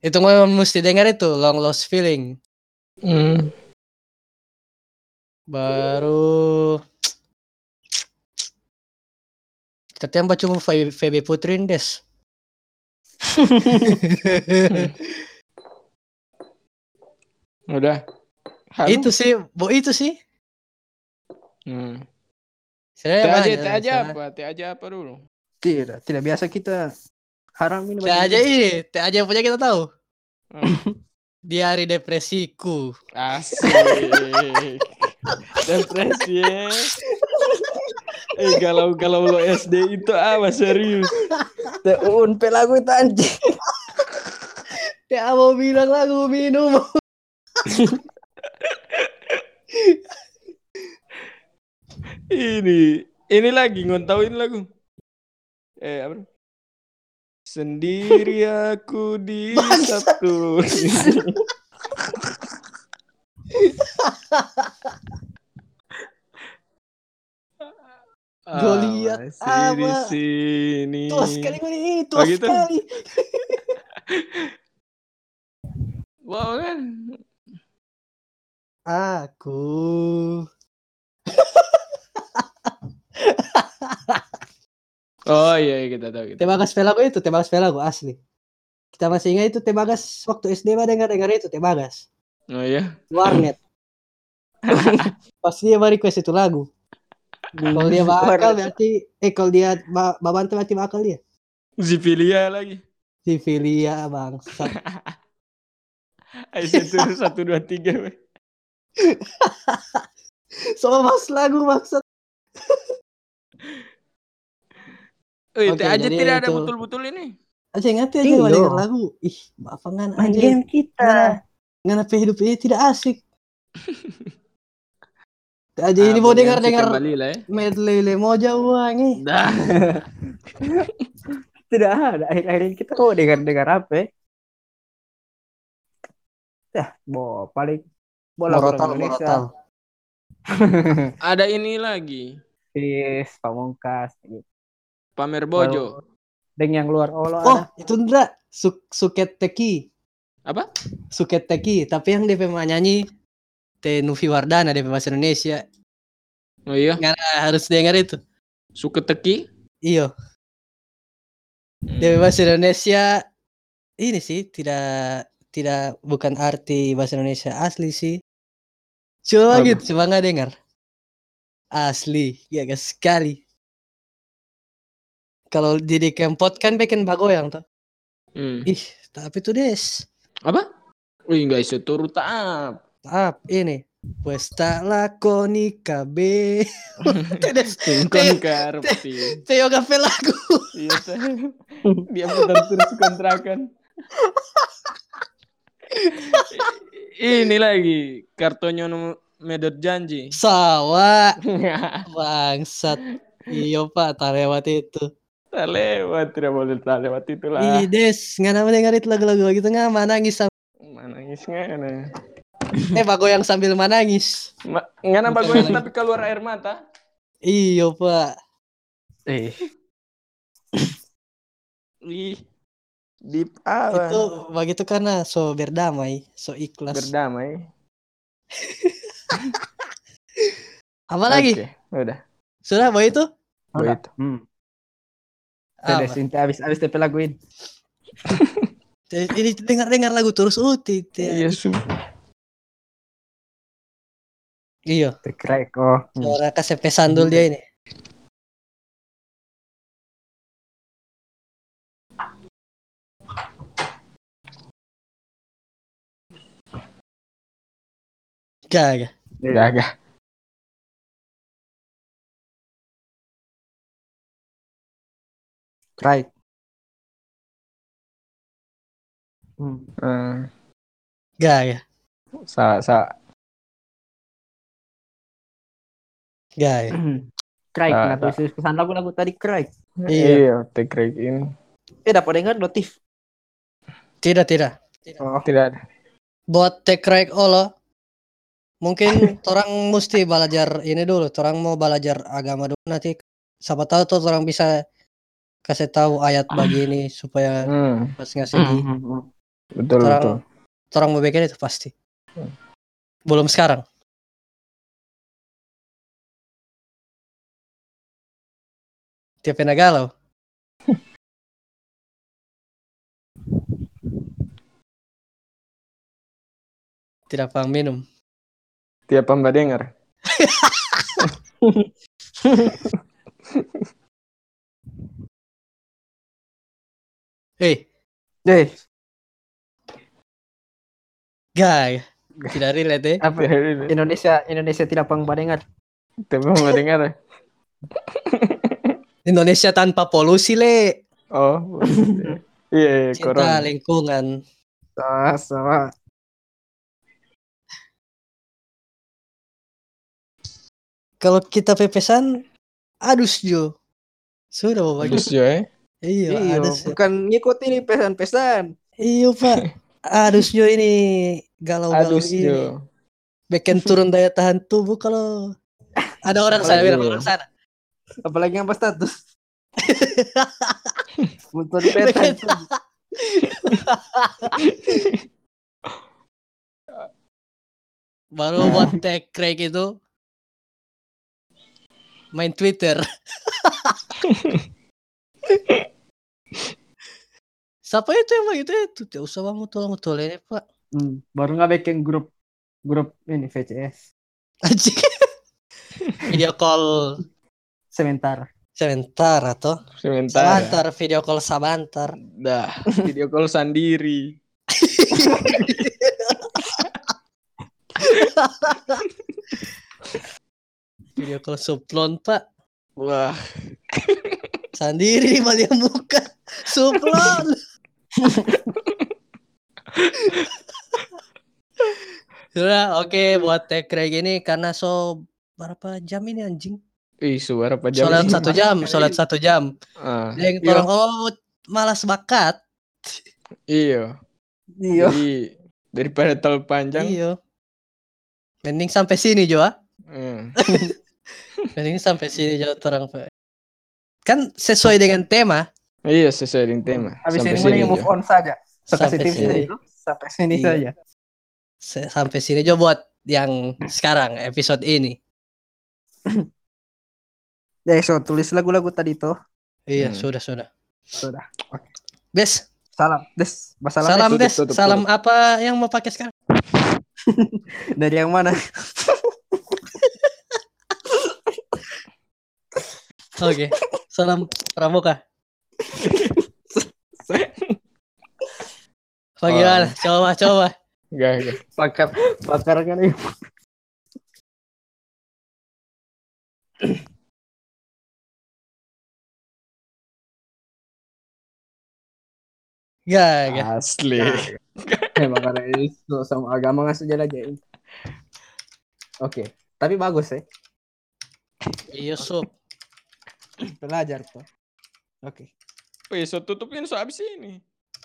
Speaker 5: Itu gue mesti denger itu Long Lost Feeling
Speaker 4: Hmm.
Speaker 5: Baru Katanya baca cuma Fe- Feby Putrin des
Speaker 4: Udah. Halo?
Speaker 5: Itu sih Bu itu sih
Speaker 4: Hmm.
Speaker 5: Sebenarnya
Speaker 4: Teh aja,
Speaker 5: banyak,
Speaker 4: teh aja
Speaker 5: sebenarnya.
Speaker 4: apa? Teh aja apa dulu?
Speaker 3: Tidak, tidak biasa kita haram ini.
Speaker 5: Teh aja ini Teh aja punya kita tahu
Speaker 4: Hmm.
Speaker 5: Di hari depresiku
Speaker 4: Asik. Depresi. ya. Eh galau-galau lo SD itu apa serius?
Speaker 3: Unpe lagu itu anjing.
Speaker 5: Teh mau bilang lagu minum
Speaker 4: Ini ini lagi ngontauin lagu. Eh apa? Sendiri aku di satu.
Speaker 5: Gua liat
Speaker 4: Ah, masih
Speaker 5: apa?
Speaker 4: di sini.
Speaker 5: Tua sekali gue ini
Speaker 4: Oh,
Speaker 5: Tua
Speaker 4: gitu?
Speaker 5: sekali
Speaker 4: Wow kan.
Speaker 5: Aku
Speaker 4: Oh iya iya, kita tahu kita.
Speaker 5: Tebagas Velago itu, Tebagas Velago asli. Kita masih ingat itu Tebagas waktu SD mah dengar dengar itu Tebagas.
Speaker 4: Oh iya.
Speaker 5: Warnet. Pasti dia mah request itu lagu. Kalau dia bakal berarti eh kalau dia ba babantu berarti bakal dia.
Speaker 4: Zipilia lagi.
Speaker 5: Civilia bang.
Speaker 4: IC itu satu dua tiga. weh.
Speaker 5: Soal mas lagu maksud.
Speaker 4: Wih,
Speaker 5: Oke,
Speaker 4: teh aja
Speaker 5: jadi ya
Speaker 4: tidak ada
Speaker 5: itu-
Speaker 4: betul-betul ini.
Speaker 5: Aja ingat aja
Speaker 3: Iya.
Speaker 5: kalau denger lagu. Ih, bapangan
Speaker 2: Main
Speaker 5: aja.
Speaker 2: game kita.
Speaker 5: Ngana hidup ini tidak asik. Aja ini
Speaker 4: Ah,
Speaker 5: mau
Speaker 4: Bonyansi
Speaker 5: dengar dengar
Speaker 4: kembali lah ya.
Speaker 5: medley le mau jauh aneh.
Speaker 4: Dah.
Speaker 3: Tidak ada. Akhir-akhir ini kita kok dengar-dengar apa ya? Yah, Ya, bo, paling bola
Speaker 5: Morotal,
Speaker 3: orang Indonesia.
Speaker 5: morotal.
Speaker 4: Ada ini lagi.
Speaker 3: Sis, pamungkas. gitu.
Speaker 4: Pamer bojo.
Speaker 3: Deng yang luar Allah
Speaker 5: Oh,
Speaker 3: ada.
Speaker 5: itu Ndra. Su Suket Teki.
Speaker 4: Apa?
Speaker 5: Suket Teki. Tapi yang DP mah nyanyi Teh Nufi Wardana DP bahasa Indonesia.
Speaker 4: Oh iya.
Speaker 5: Nah, harus denger itu.
Speaker 4: Suka teki.
Speaker 5: Iyo. DP bahasa Indonesia ini sih tidak tidak bukan arti bahasa Indonesia asli sih. Coba
Speaker 4: Apa?
Speaker 5: gitu, coba nggak dengar. Asli, ya guys sekali. Kalau jadi kempot kan bikin bagoyang tuh.
Speaker 4: Hmm.
Speaker 5: Ih, tapi tuh des.
Speaker 4: Wih, nggak iso turu taap.
Speaker 5: Up ini. Wes tak lakoni KB. Tuh des.
Speaker 4: Singkon karpi.
Speaker 5: Teo gape lagu.
Speaker 4: Iya, Teh. Dia putar terus kontrakan. Ini lagi kartunya nomor medot janji.
Speaker 5: Sawa bangsat. Iyo Pak, tarewat itu.
Speaker 4: tak lewat, tidak boleh tak lewat itulah.
Speaker 5: Ih, Des, nggak nama dengerin lagu-lagu gitu nggak manangis sama.
Speaker 4: Manangis ngana.
Speaker 5: Eh, bagoyang sambil manangis.
Speaker 4: Ma ngana
Speaker 5: Bukan
Speaker 4: bagus
Speaker 5: lagi.
Speaker 4: tapi keluar air mata.
Speaker 5: Iyo Iya, Pak.
Speaker 4: Eh. Ih. Deep apa?
Speaker 5: itu begitu karena so berdamai so ikhlas
Speaker 4: Berdamai.
Speaker 5: apa lagi
Speaker 4: Oke, Udah.
Speaker 5: sudah boy itu
Speaker 4: Boy
Speaker 3: Udah.
Speaker 4: itu.
Speaker 3: Hmm.
Speaker 5: Apa?
Speaker 3: Udah, Sinta habis habis TP laguin.
Speaker 5: Jadi ini dengar dengar lagu ya. terus uti
Speaker 4: Iya, su.
Speaker 5: iya
Speaker 3: Tekrek oh.
Speaker 4: Hmm.
Speaker 5: suara KCP sandul dia ini Gak, gak.
Speaker 4: Gagah.
Speaker 3: Right. Hmm.
Speaker 4: Hmm.
Speaker 5: Gak, gak.
Speaker 4: Sa sa
Speaker 5: Gak, gak.
Speaker 3: Craig, nah,
Speaker 4: Ah,
Speaker 3: tulis pesan lagu-lagu tadi Craig.
Speaker 5: Iya.
Speaker 4: Iya, take right in.
Speaker 3: Eh, dapat dengar notif.
Speaker 5: Tidak, tidak.
Speaker 3: Oh,
Speaker 4: Tidak ada.
Speaker 5: Buat take right all oh. Mungkin orang mesti belajar ini dulu. Orang mau belajar agama dulu nanti. Siapa tahu tuh orang bisa kasih tahu ayat bagi ini supaya
Speaker 4: Hmm,
Speaker 5: pas ngasih di
Speaker 4: betul
Speaker 5: Orang-
Speaker 4: betul.
Speaker 5: orang mau bikin itu pasti.
Speaker 3: Hmm.
Speaker 5: Belum sekarang. Tiap pena galau. Tidak paham minum.
Speaker 4: Tiap hamba dengar.
Speaker 5: Eh,
Speaker 3: eh,
Speaker 5: gay. Tidak relate eh.
Speaker 3: apa?
Speaker 4: Tapi
Speaker 3: Indonesia Indonesia tidak pernah dengar.
Speaker 4: hamba dengar.
Speaker 5: Indonesia tanpa polusi le.
Speaker 4: Oh. Iya, iya,
Speaker 5: Cinta
Speaker 4: corona.
Speaker 5: lingkungan.
Speaker 3: Sama, Ah, sama.
Speaker 5: Kalau kita pepesan, adus jo. Sudah bapak.
Speaker 4: Bagus ya. eh.
Speaker 5: Iya,
Speaker 3: Iya,
Speaker 5: adus. Jo.
Speaker 3: bukan ngikutin nih pesan-pesan.
Speaker 5: Iya pak, harus jo ini galau-galau
Speaker 4: Adus
Speaker 5: ini.
Speaker 4: yo.
Speaker 5: Bikin turun daya tahan tubuh kalau ada orang sana,
Speaker 4: Apalagi
Speaker 5: bilang
Speaker 4: ya.
Speaker 5: orang sana.
Speaker 3: Apalagi yang pas status. Butuh pesan.
Speaker 5: Baru buat tag crack itu main Twitter. Siapa itu yang begitu itu? Tidak usah kamu tolong tolong ini pak.
Speaker 3: Hmm, baru nggak bikin grup grup ini VCS
Speaker 5: Anjing. video call
Speaker 3: sebentar.
Speaker 5: sebentar atau
Speaker 4: Sementara.
Speaker 5: sabantar video call sabantar.
Speaker 4: Dah, video call sendiri.
Speaker 5: Video call suplon pak.
Speaker 4: Wah,
Speaker 5: sendiri balik muka suplon sudah Ya, oke buat take reg ini karena so berapa jam ini anjing
Speaker 4: ih suara apa jam?
Speaker 5: sholat
Speaker 4: ini?
Speaker 5: satu jam sholat satu jam
Speaker 4: Ah,
Speaker 5: yang
Speaker 4: Iya.
Speaker 5: tolong kalau malas bakat
Speaker 4: iya.
Speaker 3: Iya.
Speaker 4: Jadi, daripada tol panjang.
Speaker 5: iyo Iya. mending sampai sini Joa
Speaker 4: Hmm.
Speaker 5: mending sampai sini Joa orang kan sesuai dengan tema
Speaker 4: Iya, sesuai dengan tema.
Speaker 3: Habis
Speaker 4: Sampai
Speaker 3: ini
Speaker 4: sini iya.
Speaker 3: mending move
Speaker 4: aja.
Speaker 3: on saja.
Speaker 5: sampai
Speaker 3: Sekasitif
Speaker 5: sini
Speaker 3: itu sampai sini
Speaker 5: Iya.
Speaker 3: saja.
Speaker 5: Se- sampai sini aja buat yang sekarang episode ini
Speaker 3: Ya, so Eh, tulis lagu-lagu tadi tuh.
Speaker 5: iya
Speaker 4: Hmm.
Speaker 5: sudah sudah
Speaker 3: Sudah.
Speaker 5: bes
Speaker 3: Salam, Des. Bahasa
Speaker 5: salam
Speaker 4: ya, tutup,
Speaker 5: Des.
Speaker 4: tutup,
Speaker 5: Salam apa yang mau pakai sekarang?
Speaker 3: Dari yang mana?
Speaker 5: Oke. Salam pramuka. Bagaimana? Coba, coba.
Speaker 4: Enggak, enggak.
Speaker 3: Pakar, pakar kan ini.
Speaker 5: Enggak, enggak.
Speaker 4: Ah. Asli.
Speaker 3: Emang karena Eh, ini so- sama agama nggak sejalan aja. ini. Oke, tapi bagus ya.
Speaker 5: Iya, Sob.
Speaker 3: Belajar tuh. Oke.
Speaker 4: Besok tutupin so abis ini.